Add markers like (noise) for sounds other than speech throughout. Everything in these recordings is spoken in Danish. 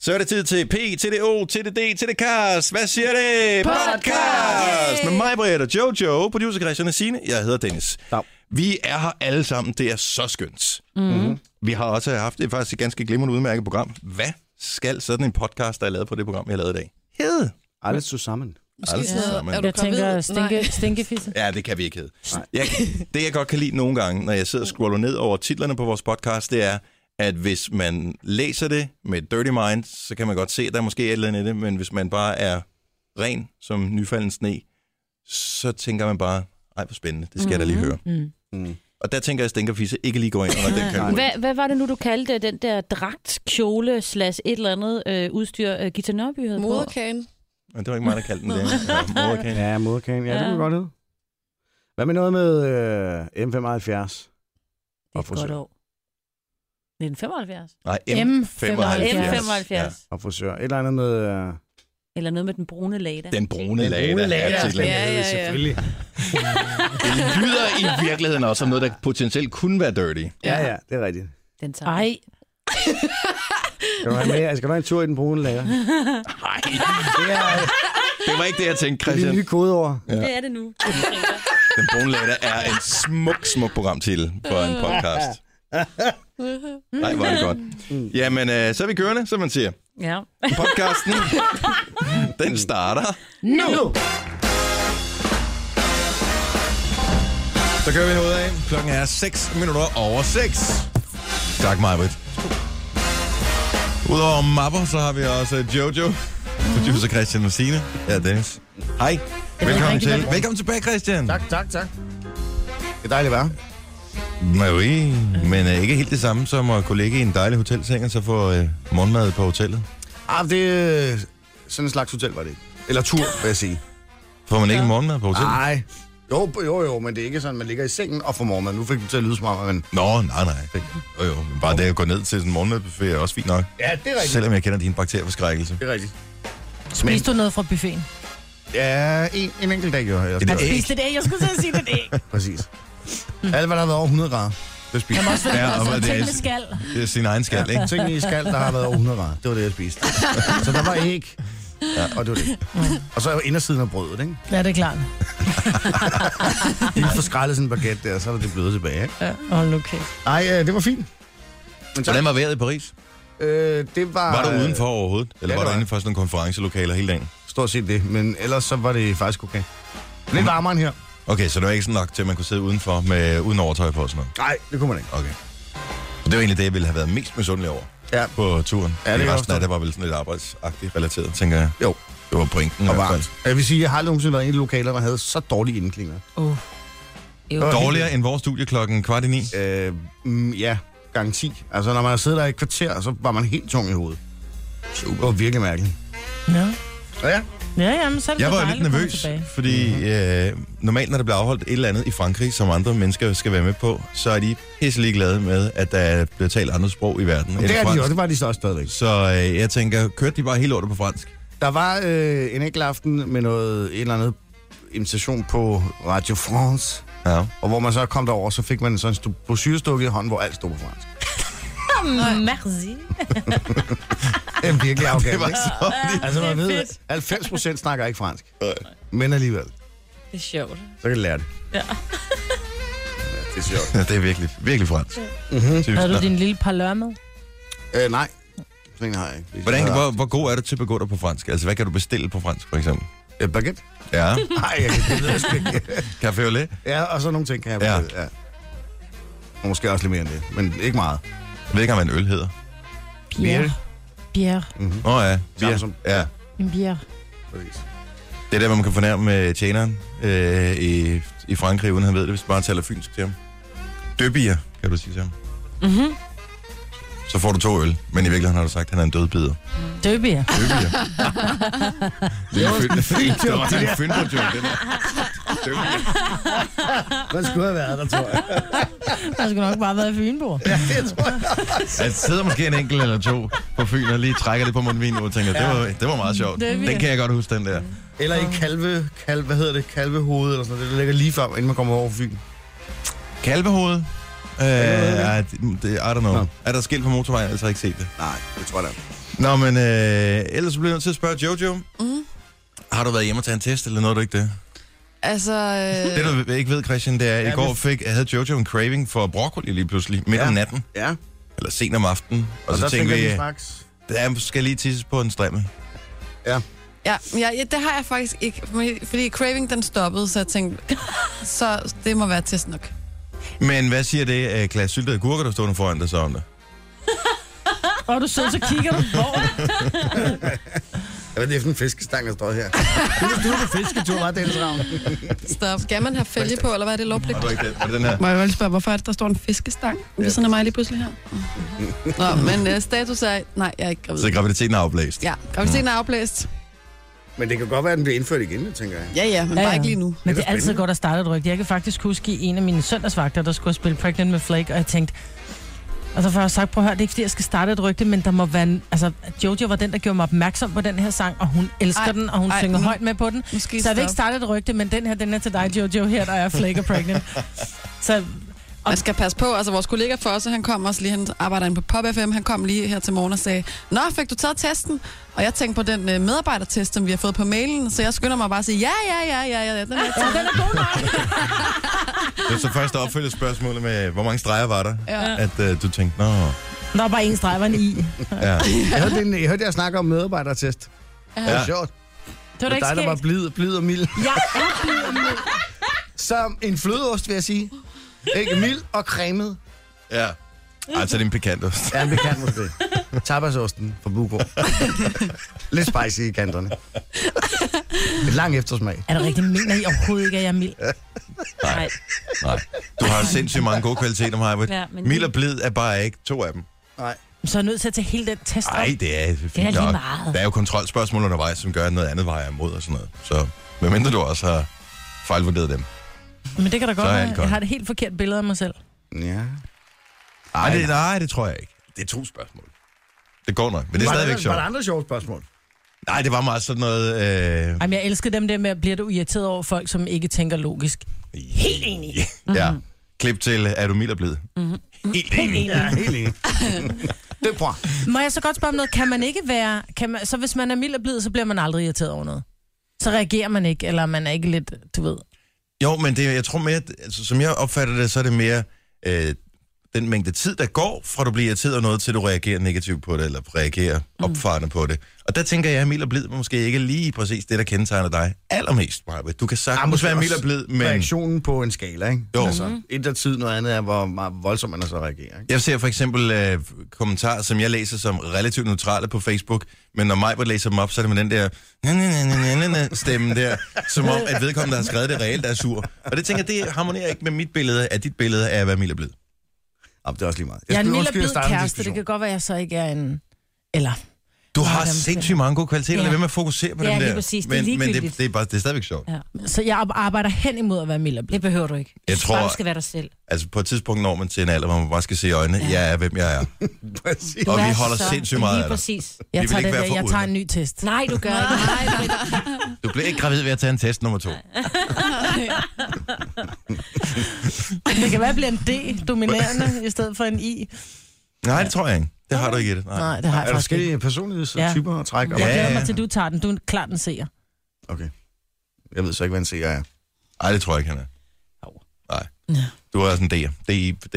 Så er det tid til P, til det O, til det D, til det Kars. Hvad siger det? Podcast! Med mig, Britt og Jojo, producer Christian og Signe. Jeg hedder Dennis. Dag. Vi er her alle sammen. Det er så skønt. Mm. Vi har også haft det faktisk et ganske glimrende udmærket program. Hvad skal sådan en podcast, der er lavet på det program, jeg lavede i dag? Hed. Alle sammen. Alle sammen. Jeg tænker stinke, stinkefisse. Ja, det kan vi ikke hedde. Jeg, det, jeg godt kan lide nogle gange, når jeg sidder og scroller ned over titlerne på vores podcast, det er, at hvis man læser det med et dirty mind, så kan man godt se, at der er måske er et eller andet i det, men hvis man bare er ren som nyfalden sne, så tænker man bare, ej, hvor spændende, det skal jeg da lige høre. Mm. Mm. Og der tænker jeg, at Stinkerfisse ikke lige går ind (laughs) under Ah. den kategori. Hvad, hvad var det nu, du kaldte den der dragt, kjole, slash et eller andet øh, udstyr, øh, Gita Nørby havde på? Moderkagen. Men det var ikke mig, der kaldte den det. Ja, moderkagen. Ja, moderkagen. Ja, det kunne Ja. godt hedde. Hvad med noget med øh, M75? Det er et godt år. 1975. Nej, M75. M75. M75. Ja. Og frisør. Et eller andet med... Øh, Eller noget med den brune lada. Den brune Den lada. brune er lada. titlen. Ja, ja, ja. Det lyder i virkeligheden også som noget, der potentielt kunne være dirty. ja, ja, det er rigtigt. Den tager. Ej, Skal du have, med? Skal du have en tur i den brune lager? Nej, Det er øh, det var ikke det, jeg tænkte, det er de Christian. nye kodeord. Det er det nu. Den brune lada er en smuk, smuk programtitel for en podcast. Nej, hvor er det godt. Jamen, øh, så er vi kørende, som man siger. ja. Podcasten, den starter. Nu! nu! Så kører vi noget af. Klokken er 6 minutter over 6. Tak, Majbrit. Udover mapper, så har vi også øh, Jojo, producer Christian og Signe. Jeg er Dennis. Hej. Velkommen, til. Velkommen tilbage, Christian. Tak, tak, tak. Det er dejligt at være. her. Marie, men øh, ikke helt det samme som at kunne ligge i en dejlig hotelseng og så få øh, morgenmad på hotellet. Ah, det er øh, sådan en slags hotel, var det ikke? Eller tur, vil jeg sige. Får man ikke morgenmad på hotellet? (laughs) Nej. Jo, jo, jo, men det er ikke sådan, man ligger i sengen og får morgenmad. Nu fik du til at lyde som om, men... Nå, nej, nej. Jo, jo. men Bare det at gå ned til sådan en morgenmadbuffet er også fint nok. Ja, det er rigtigt. Selvom jeg kender din bakterieforskrækkelse. Det er rigtigt. spiste du noget fra buffeten? Ja, en, en enkelt dag gjorde jeg. Et æg. Spiste det, jeg skulle til at sige det. det. (laughs) Præcis. Alt, hvad der har været over 100 grader, det spiste jeg. Også, ja, Ja, og også, hvad det er- det med skal. Det er sin egen skal, (laughs) ikke? Ja, tingene i skal, der har været over 100 grader. Det var det, (laughs) jeg spiste. Så der var æg. Ja. Og det var det. Mm. Og så er jo indersiden af brødet, ikke? Ja, det er (laughs) klart. Lige for skrællet sådan en baguette der, så er der det bløde tilbage, ikke? Ja, hold nu kæft. Nej, øh, det var fint. Men tak. Hvordan var vejret i Paris? Øh, det var... Var du udenfor overhovedet? Eller ja, var det du var inde for sådan nogle konferencelokaler hele dagen? Stort set det, men ellers så var det faktisk okay. Lidt varmere end her. Okay, så det var ikke sådan nok til, at man kunne sidde udenfor med, uden overtøj på og sådan noget? Nej, det kunne man ikke. Okay. Og det var egentlig det, jeg ville have været mest misundelig over Ja. på turen. Ja, det Fordi kan jeg resten af forstå. det var vel sådan lidt arbejdsagtigt relateret, tænker jeg. Jo, Det var pointen. og i hvert fald. varmt. Jeg vil sige, jeg har aldrig nogensinde været i et lokaler, der havde så dårlige indklinger. Uh. Det var Dårligere end vores studie klokken kvart i ni. helt- Øh, mm, ja, gang 10. Altså, når man har siddet der i et kvarter, så var man helt tung i hovedet. Super. Det var virkelig mærkeligt. Ja. Ja, ja. Ja, jamen, så er det Jeg da var jo lidt dejligt at komme nervøs, tilbage. Mhm. fordi øh, normalt, når der bliver afholdt et eller andet i Frankrig, som andre mennesker skal være med på, så er de pisselig glade med, at der bliver talt andre sprog i verden. end Det er de fransk. også. Det var de så også stadigvæk. Så øh, jeg tænker, kørte de bare helt lortet på fransk? Der var øh, en enkelt aften med noget, et eller andet invitation på Radio France, Ja. og hvor man så kom derover, så fik man sådan en stu- brosyrestukke i hånden, hvor alt stod på fransk. Merci. (laughs) Det er virkelig afgave, Det var ikke? så Altså, man Det er ved, fedt. at 90 procent snakker ikke fransk. Men alligevel, Det er sjovt. så kan du lære det. Ja. Ja, det er (laughs) sjovt. ja, det er virkelig, virkelig fransk. Mhm. Mm-hmm. Havde du din lille parlør med? Øh, nej, sådan en har jeg ikke. Hvordan, hvor, hvor god er du til at begå dig på fransk? Altså, hvad kan du bestille på fransk, for eksempel? Øh, baguette? (laughs) Ja, Nej, jeg kan det ved jeg sgu ikke. café au lait. Ja, og så nogle ting kan jeg Ja. ja. ja. Og måske også lidt mere end det, men ikke meget. Jeg ved ikke, om en øl hedder. Bier. Bier. Åh oh, ja. Samme som- ja. En bier. Præcis. Det er der, hvor man kan fornærme øh, tjeneren øh, i, i Frankrig, uden han ved det, hvis du bare taler fynsk til ham. Døbier, kan du sige til ham. Mm-hmm. Så får du to øl, men i virkeligheden har du sagt, at han er en dødbider. (laughs) Døbier. (laughs) Døbier. det er en fynd. Det var en fynd på joke, det der. Døbier. Hvad skulle have været der, tror (laughs) jeg? Jeg skulle nok bare have været i Fynborg. Ja. Der Altså, sidder måske en enkelt eller to på Fyn og lige trækker lidt på mundvin og tænker, det var, det var meget sjovt. Døbier. Den kan jeg godt huske, den der. Eller i kalve, kalve, hvad hedder det, kalvehoved eller sådan noget. Det ligger lige før, inden man kommer over Fyn. Kalvehoved. Øh, det? er det, det, I don't know. Nå. Er der skilt på motorvejen? Jeg har altså ikke set det. Nej, det tror jeg da. Nå, men øh, ellers så bliver jeg nødt til at spørge Jojo. Mm. Har du været hjemme og tage en test, eller nåede du ikke det? Altså, øh, Det, du ikke ved, Christian, det er, at i Ja, går vi- fik, havde Jojo en craving for broccoli lige pludselig, midt om Ja. natten, Ja. eller sent om aftenen. Og, og så der tænkte vi, jeg lige øh, straks, der skal lige tisses på en strimmel. ja, ja, ja, det har jeg faktisk ikke, fordi- fordi craving den stoppede, så jeg tænkte, så det må være test nok. Men hvad siger det, øh, Klaas Syltede Gurker, der stod foran dig så om det? Og du sidder, så kigger du på Hvad er det for en fiskestang, der står her? du er på fisketur, var det, Else Ravn? Stop. Skal man have fælge på, eller hvad er det lovpligt? Var det ikke den, var det den her? Må jeg godt spørge, hvorfor er det, der står en fiskestang ved siden af mig lige pludselig her? Nå, men uh, status er, nej, jeg er ikke gravid. Så graviditeten er afblæst. Ja, graviditeten er afblæst. Men det kan godt være, at den bliver indført igen, det tænker jeg. Ja, ja, men Ja, bare ja. ikke lige nu. Men det da er altid spændende. godt at starte et rygte. Jeg kan faktisk huske i en af mine søndagsvagter, der skulle spille Pregnant med Flake, og jeg tænkte, og så får jeg sagt, prøv at høre, det er ikke fordi, jeg skal starte et rygte, men der må være en, altså, Jojo var den, der gjorde mig opmærksom på den her sang, og hun elsker Ej, ej, den, og hun ej, ej, synger nu- højt med på den. Nu skal I Så jeg vil ikke stoppe. starte et rygte, men den her, den er til dig, Jojo, her, der er Flake og (laughs) Pregnant. Så Man skal passe på. Altså, vores kollega Fosse, han kom også lige, han arbejder inde på Pop FM, han kom lige her til morgen og sagde, Nå, fik du taget testen? Og jeg tænkte på den øh, medarbejdertest, som vi har fået på mailen, så jeg skynder mig bare at sige, ja, ja, ja, ja, ja, den er ja, den er god nok. Det er så først opfølge spørgsmålet med, hvor mange streger var der? Ja. At øh, du tænkte, nå, Der var bare en streg, var en i. ja. Jeg hørte, en, jeg hørte jer snakke om medarbejdertest. Det ja. var sjovt. Det var Det da var ikke dig, der var skægt. blid, blid og mild. Jeg er blevet med. Som en flødeost, vil jeg sige. Ikke mild og cremet. ja. Altså, det er en pikantost. Ja, det kan måske. Tapasosten fra Bugård. Lidt spicy i kanterne. Et lang eftersmag. Er det rigtigt? Mener I overhovedet ikke, at jeg er mild? Nej. Nej. Du har sindssygt mange gode kvaliteter, Majbert. Ja, Ja, men- Mild og blid er bare ikke to af dem. Nej. Så er jeg nødt til at tage hele den test op. Nej, det er fint Det er lige nok. meget. Der er jo kontrolspørgsmål undervejs, som gør, at noget andet vejer imod og sådan noget. Så medmindre du også har fejlvurderet dem. Men det kan da godt Så er være. alt godt. Jeg har et helt forkert billede af mig selv. Ja. Nej, det, nej, det tror jeg ikke. Det er to spørgsmål. Det går nok, men det er stadigvæk sjovt. Var der andre sjove spørgsmål? Nej, det var meget sådan noget... Øh... Jamen, jeg elsker dem der med, at bliver du irriteret over folk, som ikke tænker logisk. Helt enig. ja. Mhm. Klip til, øh, er du mild og blid? Mm-hmm. Helt enig. Ja, helt enig. Det er bra. Må jeg så godt spørge om noget? Kan man ikke være... Kan man, så hvis man er mild og blid, så bliver man aldrig irriteret over noget. Så reagerer man ikke, eller man er ikke lidt, du ved. Jo, men det, jeg tror mere, at- altså, som jeg opfatter det, så er det mere øh, den mængde tid, der går, fra du bliver irriteret over noget, til du reagerer negativt på det, eller reagerer opfarende på det. Og der tænker jeg, at mild og blid er måske ikke lige præcis det, der kendetegner dig allermest, Marbet. Du kan sagtens være mild og blid, men Reaktionen på en skala, ikke? Jo. Altså, et af tid, noget andet er, hvor meget voldsomt man så reagerer, ikke? jeg ser for eksempel øh, kommentarer, som jeg læser som relativt neutrale på Facebook, men når Majbert læser dem op, så er det med den der "na, na, na, na, na, na, na" stemme der, som om, at vedkommende, der har skrevet det reelt, er sur. Og det tænker jeg, det harmonerer ikke med mit billede, at dit billede er at være mild og blid. Jamen, det er også lige meget. Jeg er en skulle- mild og undskyld, jeg blid starter en kæreste. Det diskussion. kan godt være, at jeg så ikke er en... Eller... Du Nå, har dem skal- sindssygt mange gode kvaliteter, Ja. ja. ved med at fokusere på Ja, dem der. lige præcis. Det er men, men det, ligegyldigt. det, er bare, det er stadigvæk sjovt. Ja. Ja. Så jeg arbejder hen imod at være mild og blid. Det behøver du ikke. Jeg Du tror- Bare du skal være dig selv. Altså på et tidspunkt når man til en alder, hvor man bare skal se i øjnene, ja. jeg er, hvem jeg er. Præcis. Du Og vi er holder så- sindssygt meget af Lige dig. præcis. Vi Jeg vil tager, ikke den være der, jeg foruden. tager en ny test. Nej, du gør ikke. Nej, nej, nej. Du bliver ikke gravid ved at tage en test nummer to. (laughs) Det kan være, at bliver en D, (laughs) dominerende, i stedet for en I. Nej, det tror jeg ikke. Det har du ikke i det. Nej. Nej, det har jeg Er der faktisk ikke. forskellige personlighedstyper og træk? og- Jeg Ja, glæder ja, mig ja. til, at du tager den. Du er en- klart en seer. Okay. Jeg ved så ikke, hvad en seer er. Nej, det tror jeg ikke, han er. Au. Nej. Ja. Du er sådan en D'er. D, D,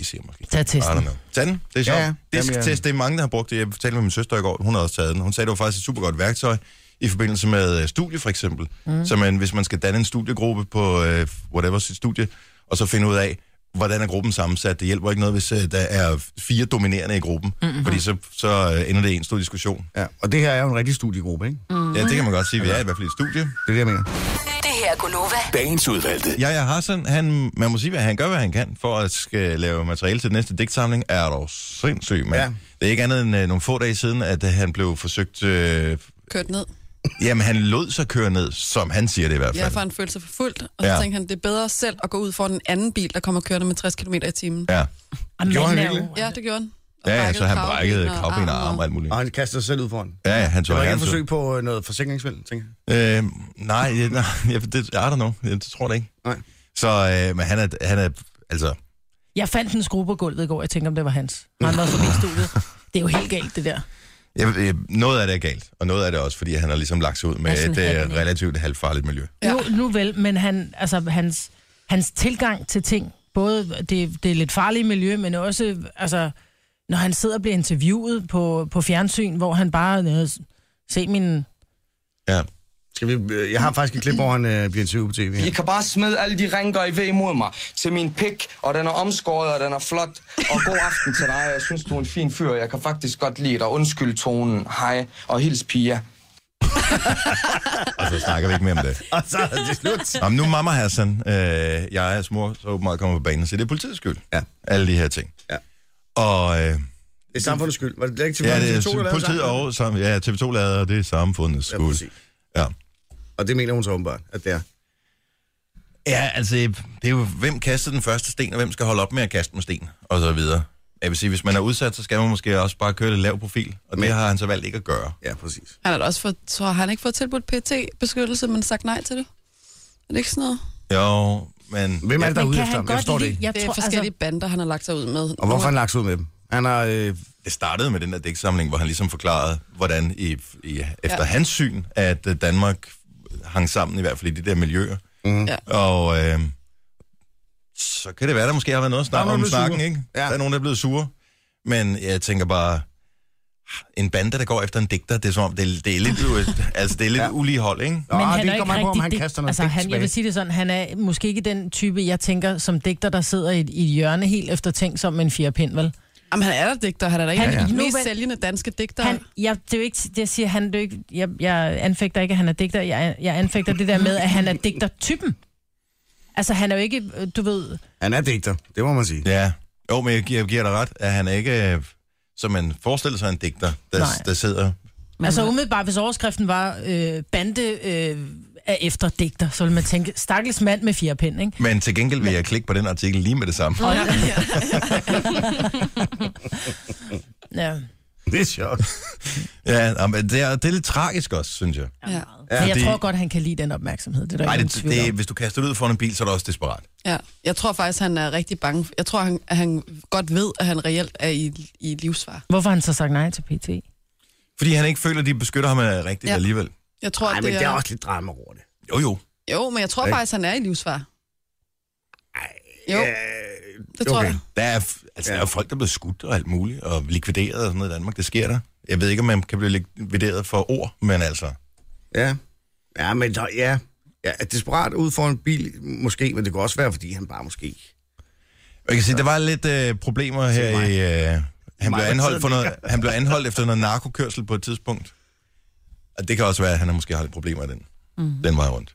D, siger måske. Tag I testen. don't know. Tag den. Det er sjovt. Ja, Ja, ja. ja. Jamen, jeg- Disktest, det er mange, der har brugt det. Jeg talte med min søster i går, hun har også taget den. Hun sagde, det var faktisk et super godt værktøj i forbindelse med øh, studie, for eksempel. Mm. Så man, hvis man skal danne en studiegruppe på øh, whatever sit studie, og så finde ud af, hvordan er gruppen sammensat. Det hjælper ikke noget, hvis øh, der er fire dominerende i gruppen, mm-hmm. fordi så, så øh, ender det i en stor diskussion. Ja, og det her er jo en rigtig studiegruppe, ikke? Mm. Ja, det kan man godt sige. Vi er i hvert fald i et studie. Det er det, jeg mener. Det her er Gunova. Dagens udvalgte. Jaja Hassan, han, man må sige, hvad han gør, hvad han kan, for at skal lave materiale til den næste digtsamling, er dog sindssyg, mand. Ja. Ja. Det er ikke andet end øh, nogle få dage siden, at øh, han blev forsøgt... Øh, kørt ned. jamen, han lod sig køre ned, som han siger det i hvert Jeg fald. får en følelse for fuldt, og så Ja. tænkte han, det er bedre selv at gå ud for den anden bil, der kommer kørende med 60 km i timen. Ja, Og Gjorde han manden er virkelig? jo- Ja, det gjorde han. Og ja, ja brækkede så han kravben brækkede kravben og arm og alt muligt. Og han kaster sig selv ud foran. Ja, ja, han Det tog var ikke et hans- forsøg på øh, noget forsikringsvæld, tænker jeg. Øh, nej, jeg- nej, (laughs) jeg- det er der nu. Jeg tror det ikke. Nej. Så, øh, men han er, han er, altså, Jeg fandt en skrue på gulvet i går, jeg tænkte, om det var hans. Han var forbi studiet. Det er jo helt galt, det der. Jeg, jeg, noget af det er galt, og noget af det er også, fordi han har ligesom lagt sig ud med Ja, sådan et hatten, øh, ikke? relativt halvfarligt miljø. Ja. Ja. Nu, nu vel, men han, altså, hans, hans tilgang til ting, både det, det lidt farlige miljø, men også, altså, når han sidder og bliver interviewet på, på fjernsyn, hvor han bare, øh, se min... Ja. Skal vi, øh, jeg har faktisk et klip, hvor han øh, bliver interviewet på tv. I kan bare smide alle de ringer I ved imod mig til min pik, og den er omskåret, og den er flot. Og god aften til dig, jeg synes, du er en fin fyr, jeg kan faktisk godt lide dig. Undskyld tonen, hej, og hils Pia. Og så snakker vi ikke mere om det. (laughs) Og så er det slut. Nå, men nu er mamma Hassan, øh, jeg og hans mor, så åbenbart kommer på banen, så det er politiets skyld. Ja. Alle de her ting. Ja. Og øh, Det er samfundets skyld. Var det ikke til ja, det TV2, er der lavede politiet sangen? og sammen, ja, TV2 lader, og det er samfundets Ja, skyld. præcis. Ja, Og det mener hun så åbenbart, at det er. ja, altså, det er jo, hvem kastede den første sten, og hvem skal holde op med at kaste med sten, og så videre. Jeg vil sige, hvis man er udsat, så skal man måske også bare køre det lav profil, og det Men- har han så valgt ikke at gøre. Ja, præcis. Han har da også fået, tror jeg, har han ikke fået tilbudt pt beskyttelse men sagt nej til det? Er det ikke sådan noget? Jo, men... Hvem er det, der er men ude kan efter han ham? Jeg forstår det lide- ikke. Jeg det er tror, tror, forskellige altså... bander, han har lagt sig ud med. Og hvorfor har han lagt sig ud med dem? Han har... Øh, Det startede med den der digtsamling, hvor han ligesom forklarede, hvordan i, i, efter ja. Ja. hans syn, at øh, Danmark hang sammen, i hvert fald i de der miljøer. mm. Ja. Og øh, så kan det være, der måske har været noget Der er snak nogen, om der er snakken, blevet sure. ikke? Ja. Der er nogen, der er blevet sure. Men jeg tænker bare, en bande, der går efter en digter, det er som om, det, er- det er lidt, (laughs) u- altså, det er lidt Ja. ja. ulige hold, ikke? Nå, men det kommer an på, om han dig- kaster noget altså, digt han, Jeg tilbage. vil sige det sådan, han er måske ikke den type, jeg tænker som digter, der sidder i et, i et hjørne helt efter ting som en firepind, vel? Jamen, han er da digter. Han er da en Han- af de Ja. mest Nu- sælgende danske digter. Han, jeg, det er jo ikke, det jeg siger, han, det er jo ikke, jeg, jeg anfægter ikke, at han er digter. Jeg, jeg anfægter det der med, at han er digter-typen. Altså, han er jo ikke, øh, du ved... Han er digter, det må man sige. Ja. Jo, men jeg giver, jeg giver dig ret, at han er ikke, øh, som man forestiller sig en digter, der, Nej. der sidder Men altså, umiddelbart, hvis overskriften var øh, bande øh, er efter digter, så ville man tænke, stakkels mand med firepind, ikke? Men til gengæld vil jeg klikke på den artikel lige med det samme. Og, ja. (laughs) Det er sjovt. Ja, nå, men det er, det er lidt tragisk også, synes jeg. (laughs) Ja. Ja, jeg det- tror godt, han kan lide den opmærksomhed. Det er der Nej, ikke det, det, tvivl det, om. hvis du kaster det ud foran en bil, så er du også desperat. ja. Jeg tror faktisk, han er rigtig bange. Jeg tror, han, at han godt ved, at han reelt er i, i livsfar. Hvorfor har han så sagt nej til PT? Fordi han ikke føler, at de beskytter ham øh, rigtigt ja. Ja. alligevel. Jeg tror, Nej, at men det der er også lidt drama over det. Jo, jo. Jo, men jeg tror Ikke? faktisk, han er i livsfar. Jo, Øh, det tror okay. okay. jeg. Der er, f- altså, ja. der er jo folk, der er blevet skudt og alt muligt, og likvideret og sådan noget i Danmark. Det sker der. Jeg ved ikke, om man kan blive likvideret for ord, men altså... Ja. Ja, men der, ja. ja. er Desperat ud for en bil, måske, men det kan også være, fordi han bare måske... Jeg kan sige, der var lidt øh, problemer her mig. i... Øh, han, Mig, blev der anholdt sidder for noget, ligger. han blev anholdt efter noget narkokørsel på et tidspunkt. Og det kan også være, at han måske har lidt problemer i den, mm. den vej rundt.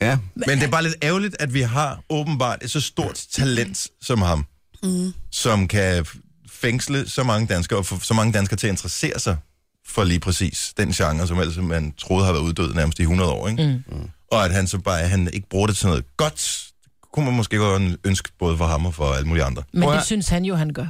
Ja. Men det er bare lidt ærgerligt, at vi har åbenbart et så stort talent som ham, mm. som kan fængsle så mange danskere, og få så mange danskere til at interessere sig for lige præcis den genre, som ellers man troede har været uddød nærmest i 100 år. Ikke? Mm. Og at han så bare han ikke bruger det til noget godt, det kunne man måske godt ønske både for ham og for alle mulige andre. Men Prøv det at- synes han jo, han gør.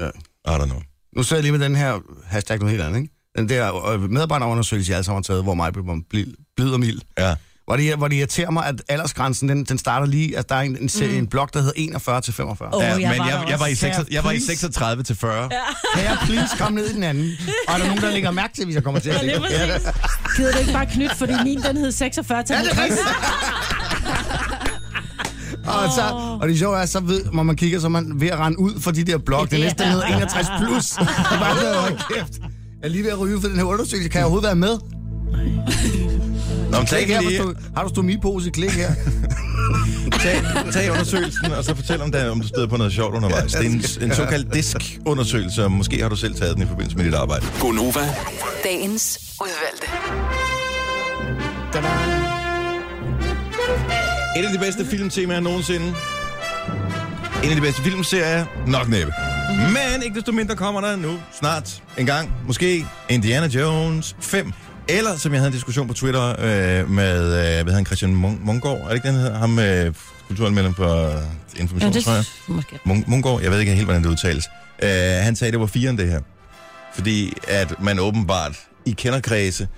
ja. I don't know. Nu sidder jeg lige med den her hashtag noget helt andet, ikke? Den der øh, medarbejderundersøgelse, jeg alle sammen har taget, hvor mig bliver blid og mild. Ja. Hvor det, hvor det irriterer mig, at aldersgrænsen, den, den starter lige, at der er en, en, serie, en blok, der hedder 41 til 45. Åh, Oh. Oh, ja, jeg men var jeg, der jeg, var i også. 6, jeg var i Please. 36 til 40. Ja. Kan jeg please komme ned i den anden? Og er der nogen, der lægger mærke til, hvis jeg kommer til at Ja, ligge? lige præcis. Gider du ikke bare knytte, fordi min den hed 46 til Ja, det er 50? rigtigt. (laughs) og, så, og det sjove er, så ved, når man kigger, så er man ved at rende ud for de der blog. Det Ja. næste hedder 61 plus. (laughs) Det er bare sådan, hold kæft. Jeg er lige ved at ryge for den her undersøgelse. Kan jeg overhovedet være med? Nå, men Klik her, tag, hvis lige, du, har du stomipose? Klik her. tag, tag undersøgelsen, og så fortæl om, der, om du støder på noget sjovt undervejs. Det er en, en såkaldt diskundersøgelse, og måske har du selv taget den i forbindelse med dit arbejde. Gonova, Dagens udvalgte. Et af de bedste filmtemaer nogensinde. En af de bedste filmserier, nok næppe. Men ikke desto mindre kommer der nu snart en gang, måske Indiana Jones 5. Eller, som jeg havde en diskussion på Twitter øh, med, øh, hvad hedder han, Christian Mung- Munggaard, er det ikke den, han hedder? Ham øh, kulturanmelderen for Ja, information, det tror jeg. måske. Mung- Munggaard, jeg ved ikke helt, hvordan det udtales. Øh, han sagde, det var firen, det her. Fordi at man åbenbart i kenderkredse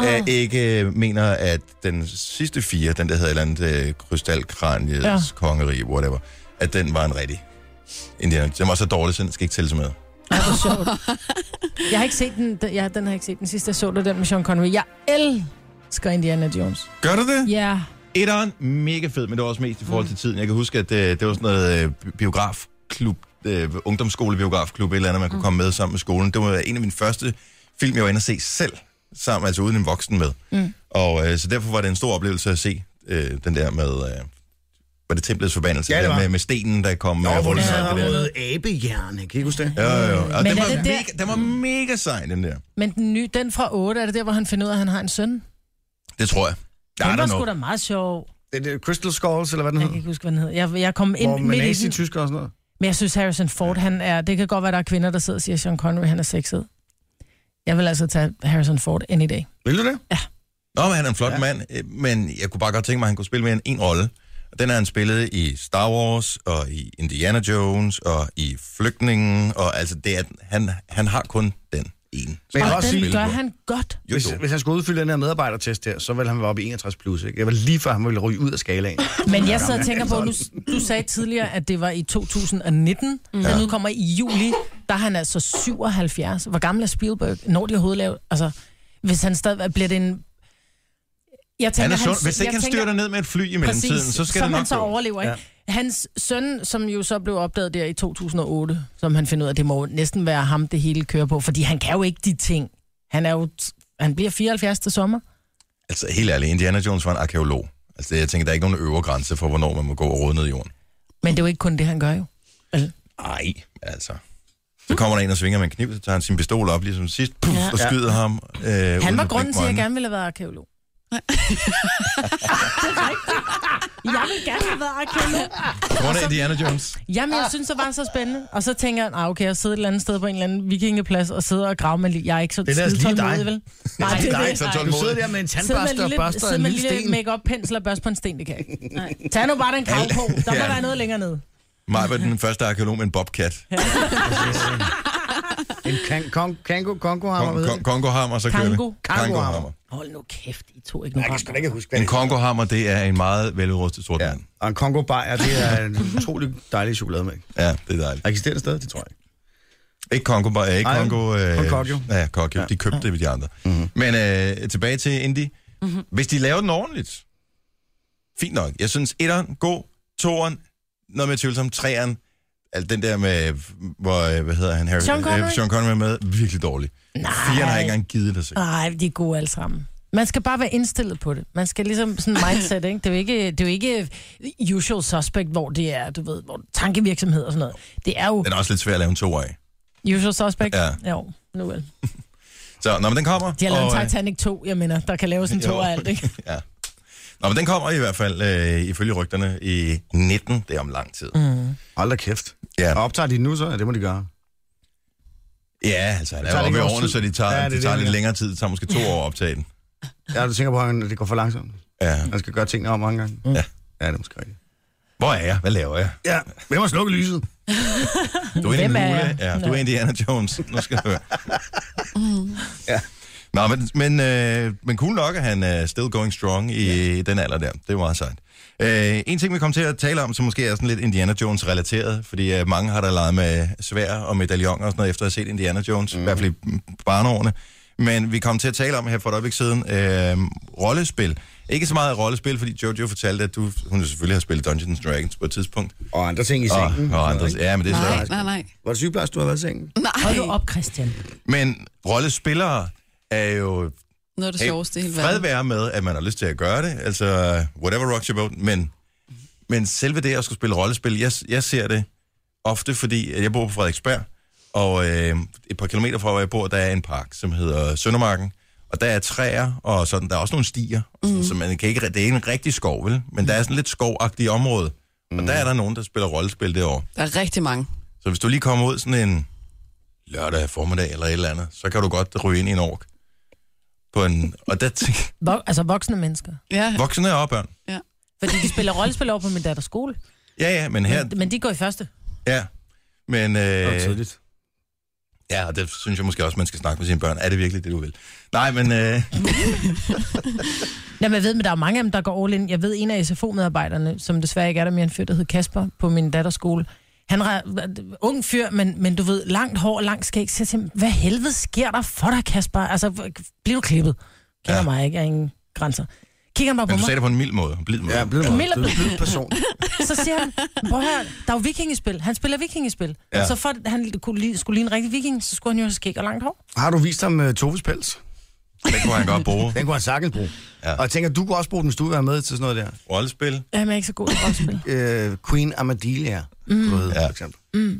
oh. ikke øh, mener, at den sidste fire, den der hedder et eller andet øh, krystalkraniets ja. Ja. kongerige, whatever, at den var en rigtig Indiana. Den var så dårlig, så den skal ikke tælles med. Ej, hvor sjovt. Jeg har ikke set den, den, ja, den har jeg ikke set. Den sidste, jeg så, det var den med Sean Connery. Jeg elsker Indiana Jones. Gør du det? Ja. Yeah. Etteren, mega fed, men det var også mest i forhold Mm. til tiden. Jeg kan huske, at det, det var sådan noget øh, bi- biografklub, øh, ungdomsskolebiografklub, et eller andet, man Mm. kunne komme med sammen med skolen. Det var en af mine første film, jeg var inde og se selv, sammen, altså uden en voksen med. Mm. Og øh, så derfor var det en stor oplevelse at se øh, den der med, øh, var det templets forbandelse? Ja, det Den var. Med, med stenen, der kom. Nå, øh, hvor det rundt om sad det der. noget abehjerne, kan I huske det? Jo, jo, jo. Og Men den, er var det der- mega, den var mega sej, den der. Men den, nye, den fra 8, er det der, hvor han finder ud af, at han har en søn? Det tror jeg. Den I var don't sgu know. da meget sjov. Det, det øh, Crystal Skulls, eller hvad den Jeg kan hedder? ikke huske, hvad den hed. Jeg, jeg kom ind Hvor man midt er i i den. tysker og sådan noget. Men jeg synes, Harrison Ford, han er... Det kan godt være, der er kvinder, der sidder og siger, at Sean Connery, han er sexet. Jeg vil altså tage Harrison Ford any day. Vil du det? Nå, men han er en flot ja. mand, øh, men jeg kunne bare godt tænke mig, at han kunne spille mere end en rolle. Og Den har han spillet i Star Wars, og i Indiana Jones, og i Flygtningen, og altså, det er, han, han har kun den ene. Men jeg vil Og også sige, den gør på. han godt. Jo, hvis, jo. hvis han skulle udfylde den her medarbejdertest her, så ville han være oppe i 61 plus, ikke? Jeg var lige før, han ville ryge ud af skalaen. Men jeg sidder og tænker på, nu, altså- du sagde tidligere, at det var i 2019, mm. men nu kommer i juli, der er han altså 77. Hvor gammel er Spielberg? Når de overhovedet lavet? Altså, hvis han stadig bliver det en... Jeg Han er sund. hans- Hvis ikke jeg han tænker- styrer dig ned med et fly i mellemtiden, så skal som det han nok så gå. overlever, ikke? Ja. Hans søn, som jo så blev opdaget der i 2008, som han finder ud af, det må næsten være ham, det hele kører på, fordi han kan jo ikke de ting. Han er jo... t- Han bliver 74 til sommer. Altså, helt ærligt, Indiana Jones var en arkeolog. Altså, jeg tænker, der er ikke nogen øvre grænse for, hvornår man må gå og rode ned i jorden. Men det er jo ikke kun det, han gør jo. Ej, altså. Så kommer der en og svinger med en kniv, så tager han sin pistol op, ligesom sidst, puff, Ja. ja. og skyder ham. Øh, Han var grunden til, at jeg gerne ville have været arkeolog. (laughs) det er rigtigt. Jeg ville gerne have været arkeolog. Altså- Grunden af Indiana Jones. Jamen, Ah. jeg synes, det var så spændende. Og så tænker jeg, ah, okay, jeg sidder et eller andet sted på en eller anden vikingeplads og sidder og graver, men jeg er ikke så (laughs) Det er da skide lige dig. tålmodig, vel? Nej, Det er det. ikke så Du tålmodig. sidder der med en Sidde med en tandbørste og lille, børster sidde en med en lille lille sten. make-up pensel og børste på en sten, det kan jeg ikke. Tag nu bare den krav på. Der må Ja. være noget længere ned. Mig var den første arkeolog med en bobcat. En kan- kon- kango, kongo hammer, ved Kon- jeg. Kongohammer, så kører Kango. det. Kangohammer. Kongohammer. Hold nu kæft, I to ikke nogen sgu da ikke huske, En kongohammer, det er en meget veludrustet sort Ja, mand. og en kongo bajer, det er en utrolig dejlig chokolademælk. Ja, det er dejligt. Eksisterer det stadig, det tror jeg ikke. Ikke Kongo, bare ikke Ej, Kongo. øh, kun Kokyo. Ja, Kokyo. De købte det ved de andre. Mhm. Mm-hmm. Men øh, tilbage til Indy. Mhm. Mm-hmm. Hvis de laver den ordentligt, fint nok. Jeg synes, etteren, god. Toeren, noget med tvivlsom. Treeren, alt den der med, hvor, øh, hvad hedder han? Harry, Sean Connery? Øh, Sean Connery er med. Virkelig dårlig. Nej. Firen har jeg ikke engang givet det sig. Nej, de er gode alle sammen. Man skal bare være indstillet på det. Man skal ligesom sådan mindset, ikke? Det er jo ikke, det er jo ikke usual suspect, hvor det er, du ved, hvor tankevirksomhed og sådan noget. Det er jo Den er også lidt svær at lave en toer af. usual suspect. Ja. Jo, nu vel. Så, nå, men den kommer. De har lavet og, en øh, Titanic 2, jeg mener, der kan laves en Jo. to af alt, ikke? ja. Nå, men den kommer i hvert fald, øh, ifølge rygterne, i 19. Det er om lang tid. Mm. Hold da kæft. Ja. Og optager de nu så? Ja, det må de gøre. Ja, altså han Så er er det jo oppe i ikke årene, vores så tid. de tager, Ja, ja, det er det, de det, tager ja. lidt længere tid. Det tager måske to år at optage den. Ja, du tænker på, at det går for langsomt. Ja. Man skal gøre tingene om mange gange. Ja. Ja, det er måske rigtigt. Hvor er jeg? Hvad laver jeg? Ja, hvem har slukket lyset? Du er Hvem en er Lula. jeg? Ja, du Nå. Mm. er Indiana Jones. Nu skal du høre. ja. Nå, men, men, øh, men cool nok, at han er still going strong i ja. den alder der. Det er meget sejt. Øh, en ting, vi kom til at tale om, som måske er sådan lidt Indiana Jones-relateret, fordi øh, mange har da leget med svær og medaljoner og sådan noget, efter at have set Indiana Jones, mm. i hvert fald i mm, barneårene. Men vi kom til at tale om her for et øjeblik siden, øh, rollespil. Ikke så meget rollespil, fordi Jojo fortalte, at du, hun selvfølgelig har spillet Dungeons Dragons på et tidspunkt. Og andre ting i Og, sengen. og Mm. andre, ja, men det er så Nej, nej, nej. Var det sygeplejerske, du har været i sengen? Hold nu Nej, op, Christian. Men rollespillere er jo noget af det hey, sjoveste i hele fred verden. være med, at man har lyst til at gøre det. Altså, whatever rocks your boat. Men, men selve det at skulle spille rollespil, jeg, jeg ser det ofte, fordi at jeg bor på Frederiksberg, og øh, et par kilometer fra, hvor jeg bor, der er en park, som hedder Søndermarken. Og der er træer, og sådan, der er også nogle stier, Mhm. mm. så man kan ikke, det er ikke en rigtig skov, vel? Men der er sådan lidt skovagtigt område. Og Mhm. der er der nogen, der spiller rollespil derovre. Der er rigtig mange. Så hvis du lige kommer ud sådan en lørdag formiddag eller et eller andet, så kan du godt ryge ind i en ork. På en, og der (laughs) tænker Vo- altså voksne mennesker. Ja, voksne og børn. Fordi de spiller rollespil over på min datters skole. Ja, ja, men her, Men, men de går i første. ja. Men, Det var øh, tidligt. ja, og det synes jeg måske også, man skal snakke med sine børn. Er det virkelig det, du vil? Nej, men øh, Jamen, jeg ved, men der er mange af dem, der går all in. Jeg ved, en af SFO-medarbejderne, som desværre ikke er der mere end fyr, der hed Kasper, på min datters skole, Han er ung fyr, men, men du ved, langt hår, langt skæg. Så jeg siger, hvad helvede sker der for dig, Kasper? Altså, hvor- bliver du klippet? Kender Ja. ja. mig ikke, jeg har ingen grænser. Kigger han bare på Men du mig, sagde det på en mild måde, en blid måde. Ja, bliv mig. Camilla- Du er en blid person. så siger han, prøv her, der er jo vikingespil. Han spiller vikingespil. Ja. Ja. Så for at han kunne lide, skulle lide en rigtig viking, så skulle han jo have skæg og langt hår. Har du vist ham uh, Toves pels? Det kunne han godt bruge. Den kunne han sagtens bruge. Ja. Ja. Og jeg tænker, du kunne også bruge den, hvis du vil være med til sådan noget der. Rollespil. Jamen, jeg er ikke så god til (laughs) rollespil. Øh, Queen Amadilea. Mm. Noget, Ja. for eksempel.